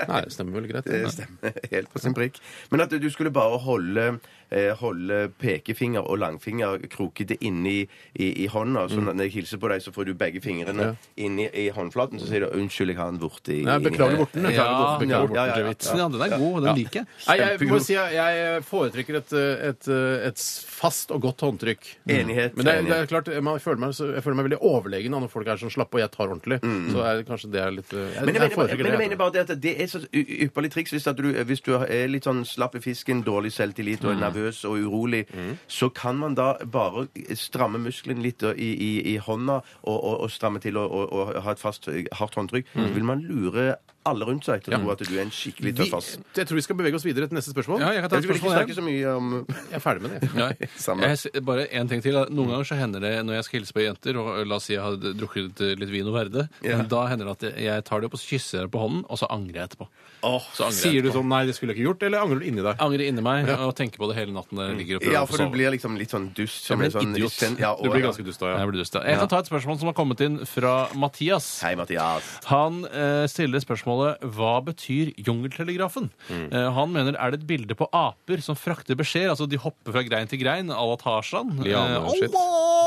Nei, det stemmer vel greit. Det stemmer helt på sin prikk. Men at du skulle bare holde, eh, holde pekefinger og langfinger krokete inni i, i hånda. Så når jeg hilser på deg, så får du begge fingrene inni i håndflaten. Så sier du 'unnskyld, jeg har en vorte i Nei, inni beklager her». borten. Beklager Ja, borten, beklager borten ja, ja, til ja. vitsen. Så ja, den er god, og den liker jeg. Nei, jeg må si jeg, jeg eh, foretrekker et, eh, et, et fast og godt håndtrykk. Mm. Enighet, Men det, er- det er enighet. klart, man føler meg, så, jeg føler meg veldig overlegen da, når folk er sånn slappe, og jeg tar ordentlig. Så er, kanskje det er litt eh, Jeg, Mm. Men jeg, mener, bare- foretrekker men jeg det. mener bare det at det er så y- ypperlig triks hvis, at du, hvis du er litt sånn slapp i fisken, dårlig selvtillit og Mm. er nervøs og urolig, så kan man da bare stramme muskelen litt og- i, i, i hånda og, og, og stramme til og, og, og ha et fast, hardt håndtrykk. Mm. Så vil man lure alle rundt seg til å tro at du er en skikkelig Vi, tøff ass. jeg tror vi skal bevege oss videre til neste spørsmål. Ja, jeg kan ta et Jeg vil ikke spørsmål igjen. snakke så mye om Jeg er ferdig med det. Nei. Samme. Jeg, s- bare en ting til. da. Noen ganger så hender det når jeg skal hilse på jenter, og la oss si jeg har drukket litt, litt vin og verde, men da hender det at jeg- jeg tar det opp og så kysser jeg det på hånden, og så angrer jeg etterpå. så angrer jeg Sier du sånn 'nei, det skulle jeg ikke gjort', eller angrer du inni deg? Angrer inni meg og tenker på det hele natten når jeg ligger og prøver Ja, å få for du sove. blir liksom litt sånn dust. Som blir en sånn, en idiot. Ja, Du å, blir ja. ganske dust da, ja. Jeg blir dust, ja. Jeg kan ta et spørsmål som har kommet inn fra Mathias. Hei, Mathias. Han eh, stiller spørsmålet hva betyr jungeltelegrafen? Mm. Eh, han mener er det et bilde på aper som frakter beskjeder? Altså de hopper fra grein til grein à la Tarzan? Lianer og Eh, shit.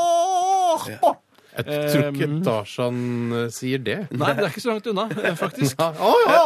Allah! Jeg tror ikke Tarzan eh, sier det. Nei, det er ikke så langt unna, eh, faktisk. Ja, Å ja,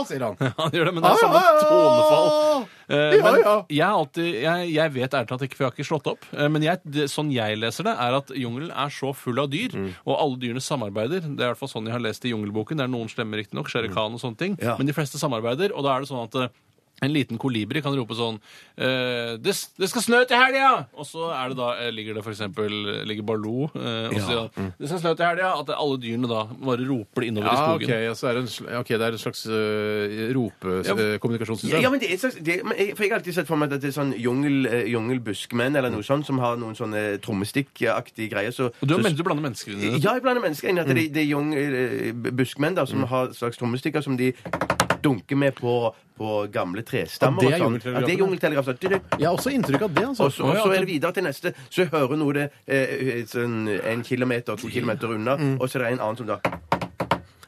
Eh, sier han. Han gjør Ah, det, men det er samme tonefall. Eh, Ja, Men ja. jeg, har alltid, jeg, jeg vet ærlig talt ikke, for jeg har ikke slått opp. Eh, Men jeg, det, sånn jeg leser det, er at jungelen er så full av dyr, og alle dyrene samarbeider. Det er i hvert fall sånn jeg har lest i Jungelboken. Det er noen slemme, riktignok, Shere Khan og sånne ting. Ja. Men de fleste samarbeider, og da er det sånn at eh, En liten kolibri kan rope sånn eh, det, s- 'Det skal snø til helga!' Og så er det da, eh, ligger det for eksempel, ligger Baloo eh, og sier at 'Det skal snø til helga!' At det, alle dyrene da bare roper det innover i Ja, skogen. Ah, ok, ja, så er det, en, sl- ok, det er et slags øh, ropekommunikasjonssystem. Ja, men det er et slags det, men jeg, For jeg har alltid sett for meg at det er sånn jungel, eh, jungelbuskmenn eller noe sånt som har noen sånne trommestikkaktige greier. Så, Og du, så, men, du blander mennesker inn i det. Ja, jeg blander mennesker inn i at det, det er jung, eh, buskmenn da, som har slags trommestikker som de dunker med på, på gamle trestammer. Ja, det er og sånn. Ja, det er jungeltelegraf. sånn. Du, du, Jeg har også inntrykk av det. altså. Og så, og så er det videre til neste. Så hører noe det eh, sånn en kilometer, to kilometer unna, og så er det en annen som da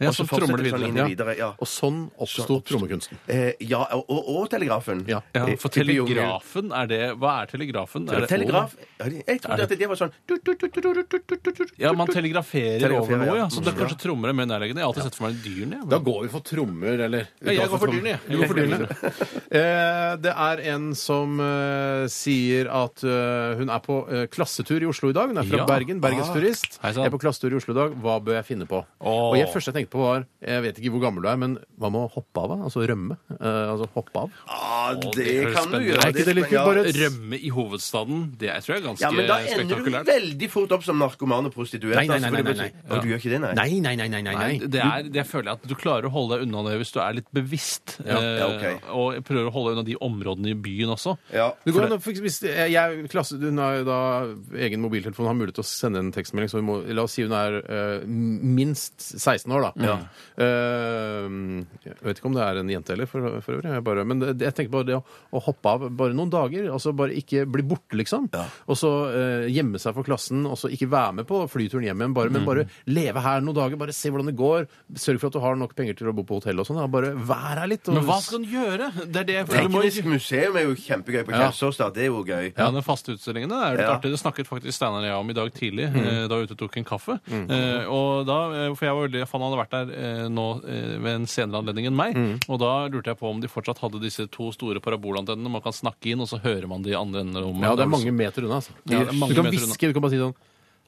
Ja, og så så trommer fortsetter det det sånn videre. inn i videre. Ja, Og sånn oppsto trommekunsten. eh, ja og, og, og telegrafen. Ja. Ja, Eh, for type jungel. telegrafen er det Hva er telegrafen? Er det- Telegraf ja, det- Jeg trodde at det var sånn du, du, du, du, du, du, du, du, du. Ja, man telegraferer over Telegraferer, noe, ja. ja. Så det er kanskje trommer er mer nærliggende. Jeg har alltid sett for meg dyrene. jeg. Da går vi for trommer, eller Ja, jeg går for dyrene, jeg. Du går for dyrene. Eh, Det er en som eh, sier at eh, hun er på eh, klassetur i Oslo i dag. Hun er fra Ja. Ah, Bergen. Bergensturist. Hei sann. Jeg er på klassetur i Oslo i dag. Hva bør jeg finne på? Åh. Og jeg første jeg tenkte på, var Jeg vet ikke hvor gammel du er, men hva med å hoppe av? da? Altså rømme? Eh, Altså hoppe av? Ah, det høres kan du spennende ut. gjøre. Er ikke det litt kult, ja. bare- eh, Rømme i hovedstaden, det jeg tror jeg er ganske Ja, men da ender du spektakulært. veldig fort opp som narkoman og prostituert. Nei, nei, altså, nei, for nei, det nei, betyr- nei. Å, Du gjør ikke det, nei? nei, nei. nei, nei, Nei, det er, det føler jeg at du klarer å holde deg unna det hvis du er litt bevisst. eh, ja, ok. Og prøver å holde deg unna de områdene i byen også. Ja. Det går an å fikse- hvis jeg, jeg, klasse, Hun har jo da egen mobiltelefon, har mulighet til å sende en tekstmelding. Så vi må, la oss si hun er eh, minst 16 år, da. Eh, jeg vet ikke om det er en jente heller, for, for øvrig. Jeg bare, men det, jeg tenkte bare det å, å hoppe av bare noen dager. altså Bare ikke bli borte, liksom. Og så eh, gjemme seg for klassen, og så ikke være med på flyturen hjem igjen. Bare, Men bare leve her noen dager, bare se hvordan det går. Sørg for at du har nok penger til å bo på hotell og sånn. da. Bare vær her litt. Og, Men hva skal den gjøre? Det er det jeg føler du må Teknisk museum er jo kjempegøy på Kjelsås. da. Det er jo gøy. Ja, den faste utstillingen det er litt Ja. artig. Det snakket faktisk Steinar og jeg om i dag tidlig, Mm. eh, da vi ute og tok en kaffe. Eh, og da, eh, For jeg var veldig, for han hadde vært der eh, nå eh, ved en senere anledning enn meg. Mm. Og da lurte jeg på om de fortsatt hadde disse to store parabolantennene man kan snakke inn, og så hører man de i andre enden av rommet. Ja, det er mange meter unna. Altså. Ja, det er du mange kan meter unna. hviske. Du kan bare si sånn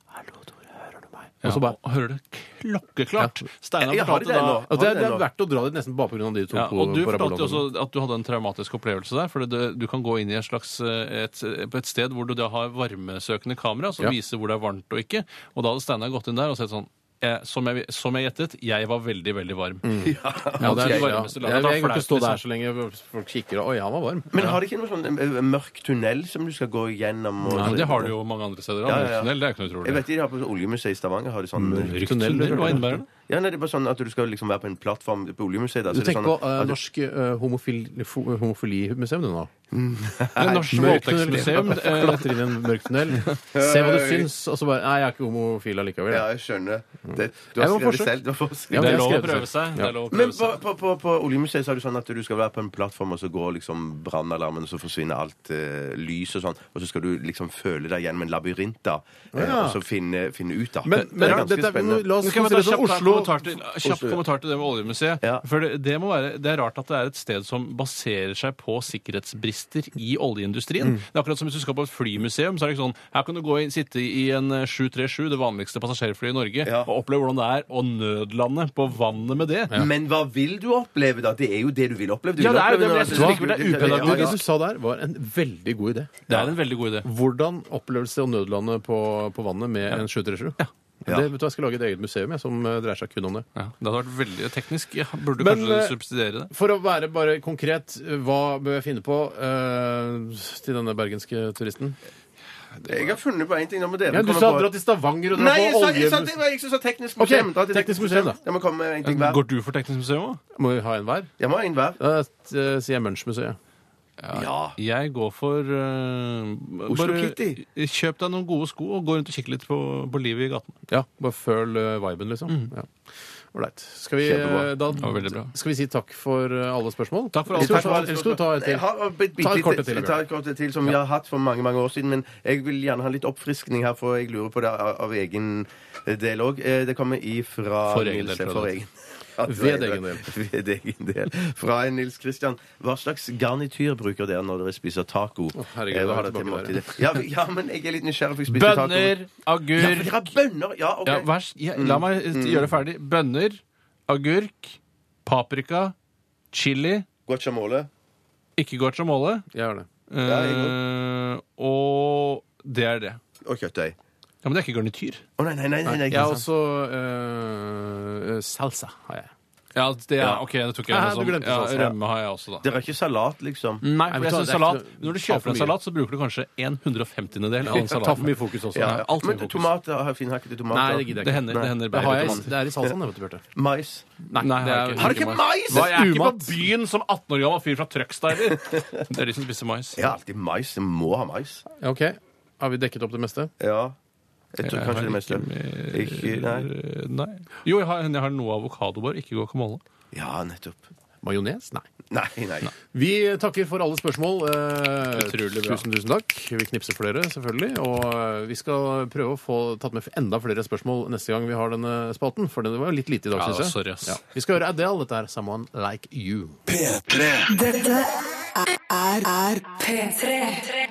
Hallo, Tore, hører du meg? Ja, Og så bare og hører det klokkeklart. Steinar Jeg har fortalte det da nå. og Altså, det, Har er, du det er nå? verdt å dra dit nesten bare pga. de to ja, på- og du parabolene. fortalte jo også at du hadde en traumatisk opplevelse der. For det, du kan gå inn i en slags, eh, et, på et sted hvor du da har varmesøkende kamera som Ja. viser hvor det er varmt og ikke. Og da hadde Steinar gått inn der og sett sånn eh, som jeg, som jeg gjettet, jeg var veldig, veldig varm. ja, det er, Mm. Det ja. varmeste Jeg, landet. jeg, Da kan ikke flaut, stå liksom. der så lenge folk kikker og Oi, han var varm. Men har de ikke noe sånn eh, mørk tunnel som du skal gå gjennom? Og, Nei, men det har du jo mange andre steder. Ja, Ja, ja, ja. Det er ikke noe Jeg utrolig. vet de har på sånn Oljemuseet i Stavanger har de sånn Mørk Tunnel, tunnel, Mm, det hva hørte jeg. innebærer det? Ja, nei, det er bare sånn at du skal liksom være på en plattform på Oljemuseet. da, så Du det er tenker på sånn eh, at- at du- Norsk eh, homofil, fo- homofilimuseum, du nå? Det er Norsk Mørk tunnel. voldtektsmuseum. eh, Klatre inn i en mørk tunnel. Se hva du syns, og så bare Nei, jeg er ikke homofil allikevel. Ja, jeg». jeg skjønner. Det, du har Jeg må skrevet forsøke. selv. Du har skrevet. Ja, Det men er jeg lov å skrev det prøve selv. seg. Det Ja. er lov å Men prøve på, seg. på, på, på Oljemuseet så er det sånn at du skal være på en plattform, og så går liksom brannalarmen, og så forsvinner alt eh, lys og sånn, og så skal du liksom føle deg gjennom en labyrint, da, eh, Ja. og så finne, finne ut, da. Men, men det er ganske dette, er- spennende. la oss Skal vi ta konsentrere oss kjapt om sånn? Oslo. Oslo, kommentar til, kjapp Oslo, ja. kommentar til det med Oljemuseet. Ja. For det, det, må være, det er rart at det er et sted som baserer seg på sikkerhetsbrister i oljeindustrien. Det er akkurat som hvis du skal på et flymuseum, så er det ikke sånn Her kan du gå inn, sitte i en eh, 737, det vanligste passasjerflyet i Norge, Ja. og oppleve hvordan det er å nødlande på vannet med det. Men hva vil du oppleve, da? Det er jo det du vil oppleve. Du Ja, vil det er jo det, oppleve men noe- jeg synes Hva? likevel det er Ja, ja, upedagog. ja. sånn. Det du sa der, var en veldig god idé. Det er en veldig god idé. Hvordan opplevelse og nødlande på, på vannet med en 737? Ja. Det, vet du, jeg skal lage et eget museum jeg, som eh, dreier seg kun om det. Ja, det hadde vært veldig teknisk. Ja, burde Men, kanskje eh, subsidiere det. For å være bare konkret, hva bør jeg finne på eh, til denne bergenske turisten? Jeg har funnet på én ting. Nå må dere Ja, du komme sa på dra til Stavanger og dra Nei, jeg på sa, jeg sa, det oljemuseum. var jeg som sa teknisk museum. Ok, Dra til teknisk museum, da. Jeg må komme med en ting hver. Går du for teknisk museum òg? Må vi ha en hver? Jeg må ha en hver. Da eh, sier jeg Munch-museet. Ja. Jeg går for eh, Oslo bare Kitty. Kjøp deg noen gode sko og gå rundt og kikke litt på, på livet i gaten. Ja, bare føl eh, viben, liksom. Ja. Ålreit. Skal, vi, Kjempebra. eh, da- Mm. Det var veldig bra. skal vi si takk for eh, alle spørsmål? Takk for alle Eller skal- spørsmål. Eller skal du ta et Jeg til? har et bitte Ta et lite- kort til, jeg tar et kort til som vi har hatt for mange mange år siden. Men jeg vil gjerne ha litt oppfriskning her, for jeg lurer på det av, av egen eh, del òg. Det kommer ifra For egen Nils- del, tror jeg for det. egen. Ja, det Ved er- egen del. Ved egen del. Fra en Nils Christian. Hva slags garnityr bruker dere når dere spiser taco? herregud, Eh, da Hva er har vi dere til tilbake der, måltidet? Ja, ja, men jeg er litt nysgjerrig, for jeg spiser taco. Bønner, Ja, for agurk dere har bønner! Ja, ok. ja, vær, s- ja, Mm. La meg eh, gjøre det ferdig. Bønner, agurk, paprika, chili Guacamole. Ikke goacha måle. Jeg gjør det. Ja, jeg Eh, og det er det. Og kjøttdeig. Ja, Men det er ikke garnityr. Å nei, nei, nei. nei, nei, Jeg har også eh, salsa. har jeg. Ja, det er, ok, det tok jeg Ja, du med som glemte sånn, ja, salsa, ja. Rømme har jeg også, da. Dere har ikke salat, liksom? Nei, Nei, vet for jeg du hva, det synes er salat, ikke- Når du ta for kjøper en mye. salat, så bruker du kanskje en 150-del av den Jeg tar for salaten. mye fokus også. Ja, Ja, alt men med fokus. tomater, har finhakkede tomater. Nei, det gidder jeg ikke. Det hender. Det hender Det, har bærer jeg, tomater. det er i salsaen, det, vet du, Bjarte. Mais. Nei, det er- Har dere ikke mais? Hva, jeg er ikke Umat. på byen som 18 år gammel fyr fra Trøgstad, eller? Det er de som spiser mais. Jeg har alltid mais. Jeg må ha mais. Ja, OK. Har vi dekket opp det meste? Ja. Jeg tror Jeg har kanskje det meste. Ikke, nei. Eh, Nei. Jo, jeg har, jeg har noe avokadobår, ikke guacamole. Ja, nettopp. Majones? Nei. Nei, nei. Vi takker for alle spørsmål. Eh, Utrolig bra. Tusen, tusen takk. Vi knipser flere, selvfølgelig. Og eh, vi skal prøve å få tatt med enda flere spørsmål neste gang vi har denne spalten, for det var jo litt lite i dag, Ja, synes jeg. sorry, ass. Vi skal høre Adele. Dette er 'Someone Like You'. Dette er, er P3.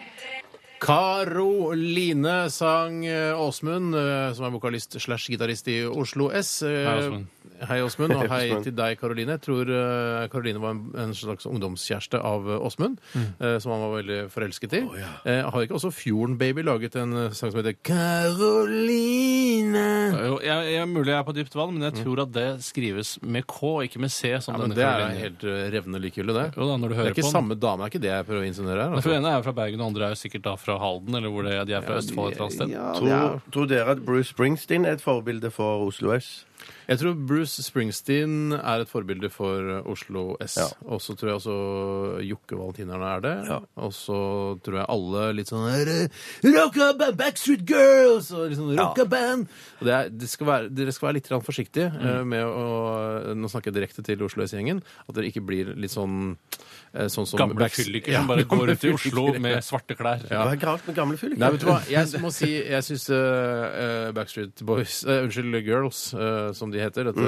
Karoline sang eh, Åsmund, eh, som er vokalist slash gitarist i Oslo S. Eh, Hei, Hei, Åsmund. Åsmund, og hei Åsmund. til deg, Karoline. Jeg tror eh, Karoline var en, en slags ungdomskjæreste av eh, Åsmund, eh, som han var veldig forelsket i. Eh, Har ikke også Fjorden Baby laget en eh, sang som heter Karoline? Jo, jeg, jeg, mulig jeg er på dypt vann, men jeg tror at det skrives med K, ikke med C. Som Mm. Ja, men denne det er Karoline. helt eh, revnende likegyldig, det. Jo da, når du Det er hører ikke på den. samme dame, er ikke det jeg prøver å insinuere her? Men For Altså. ene er jo fra Bergen, og andre er jo sikkert da fra Halden, eller hvor det er, de er fra Østfold et eller annet sted. Ja, tror, tror dere at Bruce Springsteen er et forbilde for Oslo S? Jeg tror Bruce Springsteen er et forbilde for eh, Oslo S. Ja. Og så tror jeg også Jokke Valentinerne er det. Og så tror jeg alle litt sånn eh, Rocka band, Backstreet Girls! Og litt sånn rocka band! Og det er, det skal være, dere skal være litt grann forsiktige eh, med å eh, Nå snakker jeg direkte til Oslo S-gjengen. At dere ikke blir litt sånn eh, Sånn som Gamle Backs- fylliker Ja, som bare går gamle rundt i Oslo fylliker. med svarte klær. Hva er galt med gamle fylliker? Nei, vet du hva? Jeg må si jeg syns Backstreet Boys eh, Unnskyld, Girls, eh, som de heter. Dette,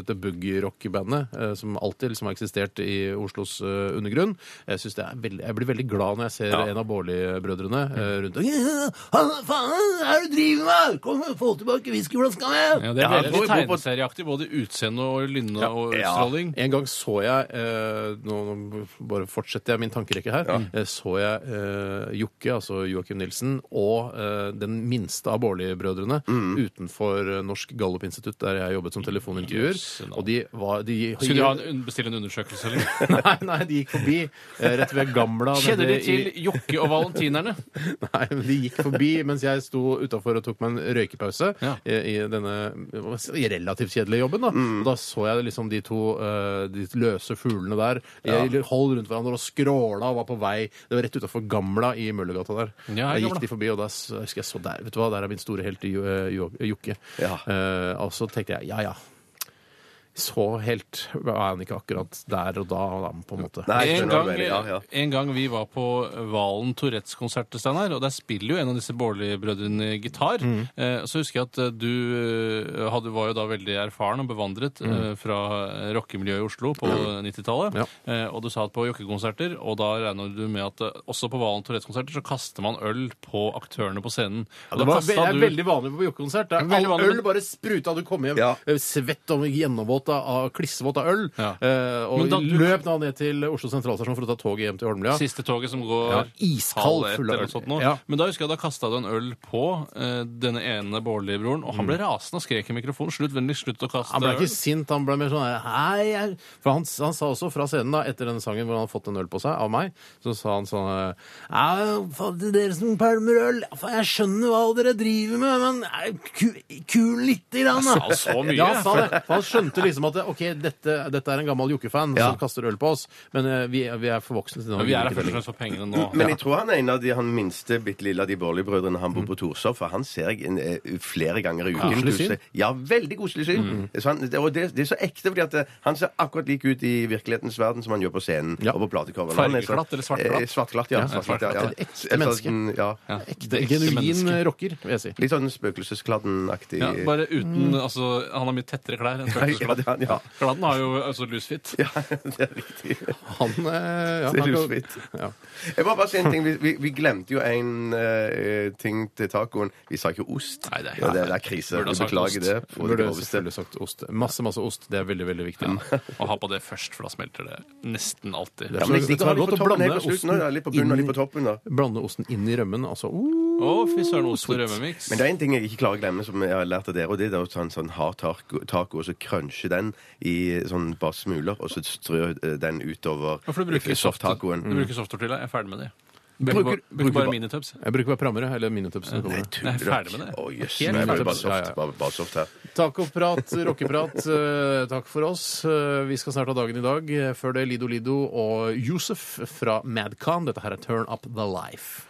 dette boogie-rock-bandet eh, som alltid liksom har eksistert i Oslos eh, undergrunn. Jeg, synes det er veldig, jeg blir veldig glad når jeg ser en av Baarli-brødrene eh, rundt og «Ja, Hva faen er det du driver med?! Kom, få tilbake whiskyflaska mi! Ja, det er Ja, veldig hvor- hvor- hvor- tegneserieaktig, både utseende og lynne og utstråling. En gang så jeg eh, Nå nå bare fortsetter jeg min tankerekke her. Eh, så jeg eh, Jokke, altså Joakim Nilsen, og eh, den minste av Baarli-brødrene utenfor eh, Norsk Gallupinstitutt, der jeg jobbet som telefonintervjuer. Jøsse navn. Og de var de, Skulle du ha en, un- bestille en undersøkelse, eller? Nei, nei, de gikk forbi eh, rett ved Gamla. Kjenner de nede til i- Jokke og Valentinerne? Nei, men de gikk forbi mens jeg sto utafor og tok meg en røykepause Ja. i, i denne hva skal jeg si, relativt kjedelige jobben. Da Mm. Og da så jeg liksom de to eh, de løse fuglene der Jeg holdt rundt hverandre og skråla og var på vei Det var rett utafor Gamla i Møllergata der. Ja, jeg Gamla. gikk de forbi, og da s- jeg husker jeg så der. Vet du hva, der er min store helt Jo- eh, Jo- Jokke. Ja. Eh, og så tenkte jeg ja ja. Så helt er han ikke akkurat der og da, da, på en måte. Nei, jeg En skjønner hva gang, du mener. Ja, ja. en gang vi var på Valen Tourettes-konsert, Steinar, og der spiller jo en av disse Baarli-brødrene gitar. Mm. Eh, Så husker jeg at eh, du eh, hadde, var jo da veldig erfaren og bevandret Mm. eh, fra rockemiljøet i Oslo på 90-tallet. Eh, Og du sa at på jokkekonserter, og da regner du med at eh, også på Valen Tourettes-konserter så kaster man øl på aktørene på scenen. Det, Og da var, kastet det er du- veldig vanlig på jokkonsert. Det er Veldig all vanlig, øl men- bare spruta. Du kom hjem Ja. eh, svett og gjennomvåt av klissvåt av øl. Ja. eh, Og Men da du- løp da ned til Oslo sentralstasjon for å ta toget hjem til Holmlia. Siste toget som går Ja, iskald halv ett full av eller øl. noe sånt nå. Ja. Men da husker jeg da kasta du en øl på eh, denne ene Bårdli-broren, og han ble rasende og skrek i mikrofonen. Slutt, vennligst slutt å Mm. kaste Han ble øl. ikke sint, han ble mer sånn her, Hei, jeg... For han, han sa også fra scenen, da, etter denne sangen hvor han hadde fått en øl på seg av meg, så sa han sånn eh, «Ja, faen, til dere som pælmer øl, ja, faen, jeg skjønner hva dere driver med, men eh, ku- kul lite grann, da. Han sa så mye. Ja, han sa det. For han skjønte liksom at ok, dette, dette er en gammel jokkefan Ja. som kaster øl på oss, men eh, vi, er- vi er for voksne til det. Men vi er her først og fremst for pengene nå. Men jeg tror han er en av de han minste bitte lille av de Borli-brødrene. Han bor på Torshov, for han ser jeg en, eh, flere ganger i uken. Mm. Koselig syn. Mm. Ja, veldig koselig syn. Så han, det, og det, det er så ekte, fordi at eh, han ser akkurat lik ut i virkelighetens verden som han gjør på scenen Ja. og på platecoveren. Han er sånn- Fargeklatt eller svartglatt? Eh, svartglatt, ja. Ja, svartglatt, ja, ja. svartglatt. Ekte menneske. Sånn, ja. Ja. Ekte, genuin menneske. rocker, vil jeg si. Litt sånn spøkelseskladden-aktig. Mm. Ja, bare uten Altså, han har mye tettere klær enn Ja, det det er han, ja. Gladden har jo altså lusfitt. Ja, det er riktig. Han, eh, ja, Det er han kan- lusvitt. Ja. Jeg må bare si en ting. Vi, vi, vi glemte jo en eh, ting til tacoen. Vi sa ikke ost. Nei, det er- ja, det, er- det er krise. Burde ha Vi sagt beklager ost. det. på det Burde groveste. selvfølgelig sagt ost. Masse, masse ost. Det er veldig, veldig viktig. Og ha på det først, for da smelter det nesten alltid. Ja, men jeg liker å ha litt Det er på godt å toppen, helt blande på slutten. da. osten Litt på bunnen og litt på inn- toppen. da. Blande osten inn i rømmen, altså. Å, Uh, fy søren, ost og sweet. rømmemiks. Men det er en ting jeg ikke klarer å glemme, som jeg har lært av dere. og Det er å ta en sånn hard taco, taco og så crunche den i sånn bare smuler, og så strø eh, den utover eh, Hvorfor du bruker soft, Mm. soft-tacoen. du bruker softtortilla? Jeg er ferdig med det. Bruker- Bruker, bare- bruker bruker bare ba- minitubs. Jeg bruker bare prammere, eller minitubs. når det Nei, kommer. tuller Jeg er ferdig med det. Å, jøss. Helt Nå er det ferdig. bare Ja, ja. soft, bare, bare soft her. Tacoprat, rockeprat, eh, takk for oss. Eh, Vi skal snart ha dagen i dag. Eh, Før det Lido Lido og Yousef fra Madcon. Dette her er Turn Up The Life.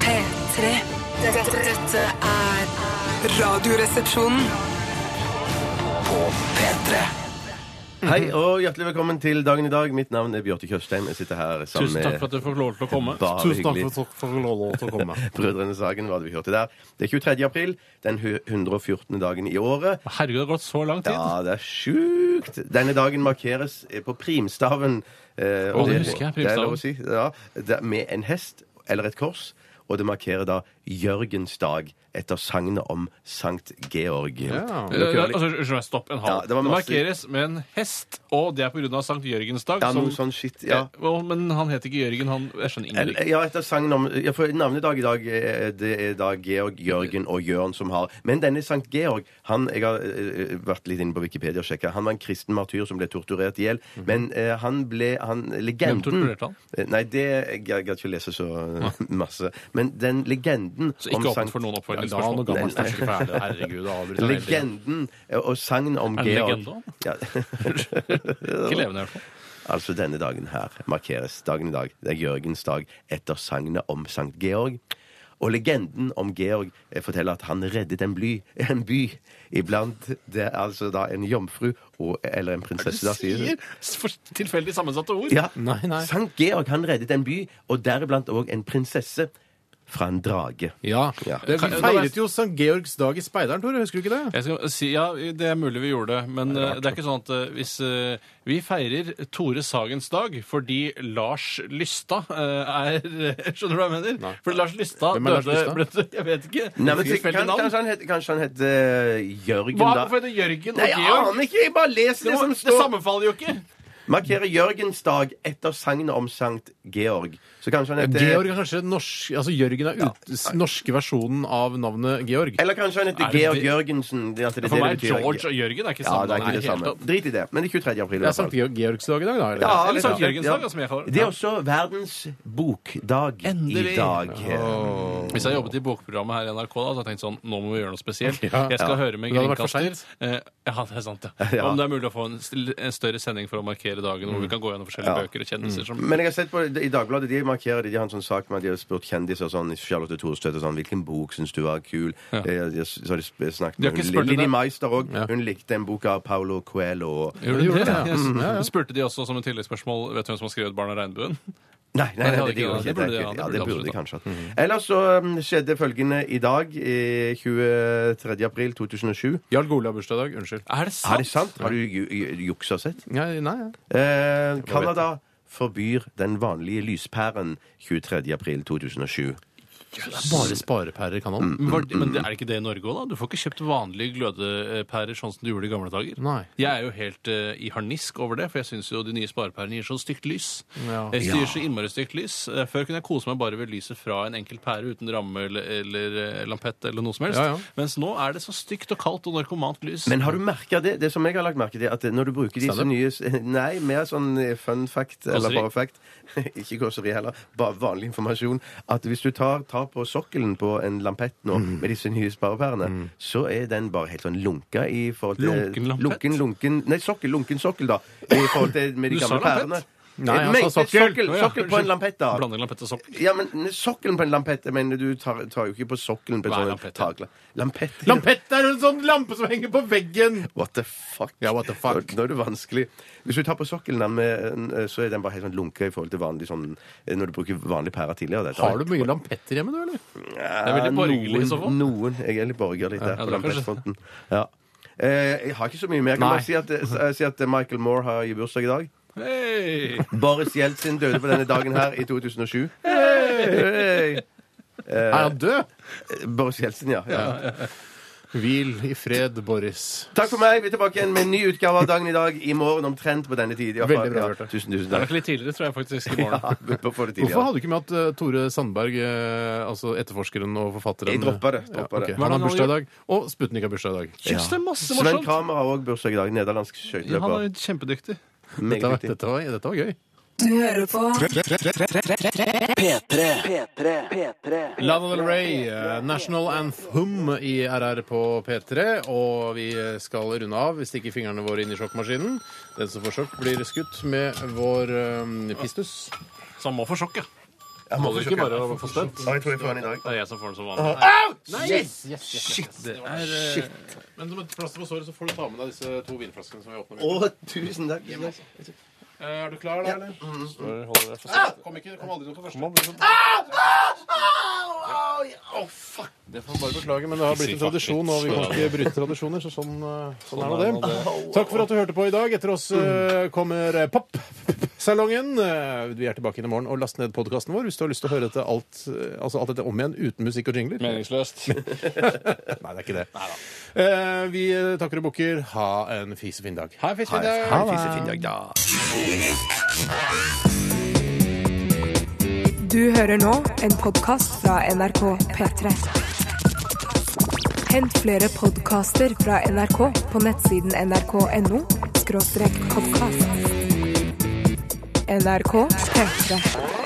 P3. Dette, dette er Radioresepsjonen. Hei og hjertelig velkommen til dagen i dag. Mitt navn er Bjarte Tjøstheim. Jeg sitter her sammen Tusen takk for med at du fikk lov til å komme. bare hyggelig. for at du å komme. Brødrene Sagen, hva hadde vi hørt til der? Det er 23. april, den hu- 114. dagen i året. Herregud, det har gått så lang tid. Ja, det er sjukt! Denne dagen markeres eh, på primstaven. eh, Å, det husker jeg, Det er lov primstaven. å si. Ja, det er med en hest eller et kors. Og det markerer da Jørgens dag etter sagnet om Sankt Georg. Ja. Eh, Dere eh, hører litt- Altså, unnskyld meg, stopp en Ja, halv. det det, var masse- markeres med en hest, og det er pga. Sankt Jørgens dag. Ja, som- noe sånn shit, ja. Eh, well, men han heter ikke Jørgen, han Jeg skjønner Eller- ingenting. Ja, etter sangen om ja, for Navnedag i dag eh, det er da Georg, Jørgen og Jørn som har Men denne Sankt Georg han, Jeg har eh, vært litt inne på Wikipedia og sjekka. Han var en kristen martyr som ble torturert i hjel. Men eh, han ble han, Legenden Mhm. torturerte han? Eh, Nei, det jeg gadd ikke å lese så masse. Men den legenden Så ikke åpent for Ja, noen da, oppfordringsspørsmål. nå gammelt, kanskje ikke ferdig. Herregud, det avbryter jeg hele tiden. Legenden eh, og sagn om Er det Georg legende også? ja. Ikke levende, i hvert fall. Altså denne dagen her markeres dagen i dag. Det er Jørgens dag etter sagnet om Sankt Georg. Og legenden om Georg eh, forteller at han reddet en, bly, en by iblant det er altså da en jomfru og, eller en prinsesse. da sier det. For tilfeldig sammensatte ord. Ja, Nei, nei. Sankt Georg han reddet en by, og deriblant òg en prinsesse fra en drage. Ja. Ja. Det, vi feiret jo St. Georgs dag i Speideren, Tore. Husker du ikke det? Jeg skal si, ja, Det er mulig vi gjorde det, men eh, det er ikke sånn at eh, hvis eh, Vi feirer Tore Sagens dag fordi Lars Lystad eh, er Skjønner du hva jeg mener? Fordi Lars Lystad Hvem er Lars døde Lystad? ble det- Jeg vet ikke. Nei, men, Tilfeldig kan, navn. kanskje han het, kanskje han het eh, Jørgen, Hva, da? hvorfor heter Jørgen og Nei, jeg Georg? aner ikke! Jeg bare leser Det, det må, som det står. sammenfaller jo ikke! Markerer Jørgens dag etter sagnet om Sankt Georg. Så kanskje han heter Georg er kanskje den norsk, altså Jørgen er ut, s- norske versjonen av navnet Georg. Eller kanskje han heter Er det- Georg Jørgensen. Det, at det, er For det meg det betyr. George og Jørgen er ikke Ja, samme det er ikke navn i det hele samme. tatt. Drit i det. Men det er 23. april. i Det er hvert fall. St. Georg, Georgs dag i dag, da? Eller? Ja, Eller Sankt ja. Jørgens dag, da, som jeg kaller det. Det er også verdens bokdag Endelig. i dag. Hvis jeg jobbet i bokprogrammet her i NRK, da, så hadde jeg tenkt sånn, nå må vi gjøre noe spesielt. Jeg skal høre med Men det hadde vært for kringkaster. Eh, ja, det er sant, ja. Ja. Om det er mulig å få en, stil- en større sending for å markere dagen, Mm. hvor vi kan gå gjennom forskjellige bøker og kjendiser som Men jeg har sett på, i Dagbladet de markerer det. De har en sånn sak med at de har spurt kjendiser sånn, Charlotte Thorstvedt og sånn, hvilken bok syns du var kul. Eh, de har- Så har de sp- snakket De har med ikke hun- spurt Linni henne. Meister òg. Hun likte en bok av Paulo Coelho. Gjorde de gjorde det? det, ja. Yes. Spurte de også som et tilleggsspørsmål Vet du hvem som har skrevet 'Barn og regnbuen'? Nei, nei, Nei, nei, det det, det gjorde hadde Mm. ikke ikke- det. det burde de- Ja, ja, det det burde burde de de kanskje hatt. Ellers så um, skjedde følgende i dag, eh, 23. april 2007. Jarl Gole har bursdag i dag. Unnskyld. Er det Er det sant? sant? Har du ju- ju- juksa sett? Nei, nei. ja. Eh, Canada forbyr den vanlige lyspæren 23. april 2007. Bare sparepærer kan han. Men var det- mm. Men det er det ikke det i Norge òg, da? Du får ikke kjøpt vanlige glødepærer sånn som du gjorde i gamle dager. Nei. Jeg er jo helt eh, i harnisk over det, for jeg syns jo de nye sparepærene gir så stygt lys. Ja. Jeg gir så innmari stygt lys. Eh, Før kunne jeg kose meg bare ved lyset fra en enkel pære uten ramme eller, eller eh, lampett eller noe som helst. Ja, ja. Mens nå er det så stygt og kaldt og narkomant lys. Men har du merka det? Det som jeg har lagt merke til, er at når du bruker disse Stand-up? nye Nei, mer sånn eh, fun fact eller Kåseri? bare fact. Ikke kåseri heller. Bare vanlig informasjon. At hvis du tar, tar på sokkelen på en lampett nå Mm. med disse nye sparepærene, så er den bare helt sånn lunka i forhold til Lunken lampett? Lunken, lunken Nei, sokkel. Lunken sokkel, da. I forhold til med de Du sa gamle lampett? pærene. Nei, Eh, han men- sa sokkel. Sokkel, Å, ja, sokkel på en unnskyld. lampett, da. Blander lampett og sopp. Ja, men sokkelen på en lampett Jeg mener, du tar, tar jo ikke på sokkelen på Hva er en sånn lampett? takla. Lampett. Lampett er en sånn lampe som henger på veggen! What the fuck? Ja, what the fuck? Nå, nå er det vanskelig. Hvis du tar på sokkelen, den med, så er den bare helt sånn lunka i forhold til vanlig sånn Når du bruker vanlig pære tidligere. Dette Har du mye lampetter hjemme, du, eller? Det er veldig borgerlig i så fall. Noen. Jeg er litt borgerlig der Ja, på det er kanskje- lampettfronten. Ja. Eh, jeg har ikke så mye mer. Jeg kan Nei. bare si at, eh, si at Michael Moore har i bursdag i dag. Hei! Boris Jeltsin døde på denne dagen her i 2007. Hey! Er han død? Boris Jeltsin, ja. ja. Hvil i fred, Boris. Takk for meg. Vi er tilbake igjen med en ny utgave av Dagen i dag i morgen omtrent på denne tid. i hvert fall. Veldig bra, Ja, Bjarte. Tusen, tusen Det er nok takk. litt tidligere, tror jeg faktisk, i Ja, morgen. vi bør få det tidligere. Hvorfor hadde du ikke med at eh, Tore Sandberg, eh, altså etterforskeren og forfatteren eh, Jeg droppa det, droppa ok. det. Han har bursdag i dag, og Sputnik har bursdag i dag. Jøss, det er masse Sven morsomt! Kramer har òg bursdag i dag. Nederlandsk Ja, han skøyteløper. er kjempedyktig. Meget Dette var, viktig. dette var, dette var gøy. Du hører på P3. P3. P3. Lana Del Rey, eh, National Anthem i RR på P3. Og vi skal runde av. Vi stikker fingrene våre inn i sjokkmaskinen. Den som får sjokk, blir skutt med vår eh, pistus. Så han må få sjokk, ja. Jeg må Må du få ikke bare sjokke. få støtt? Ja, jeg tror jeg får den i dag. Det er jeg som får den som vanlig. Men som et plaster på såret så får du ta med deg disse to vinflaskene som vi åpner. Å, tusen takk. Eh, Er du klar, da, eller? Kom ikke, kom aldri noe på første. Det får man bare beklage, men det har blitt en tradisjon, og vi kan ikke bryte tradisjoner, så sånn, eh, sånn er nå det. Takk for at du hørte på i dag. Etter oss eh, kommer eh, Popsalongen. Eh, Vi er tilbake inn i morgen, og last ned podkasten vår hvis du har lyst til å høre dette alt, eh, altså alt dette om igjen uten musikk og jingler. Meningsløst. Nei, det er ikke det. Eh, Vi eh, takker og bukker. Ha en fisefin dag. Hei, fiskefin. Ha en fisefin dag, da. Du hører nå en podkast fra NRK P3. Hent flere podkaster fra NRK på nettsiden nrk.no podkast. NRK P3.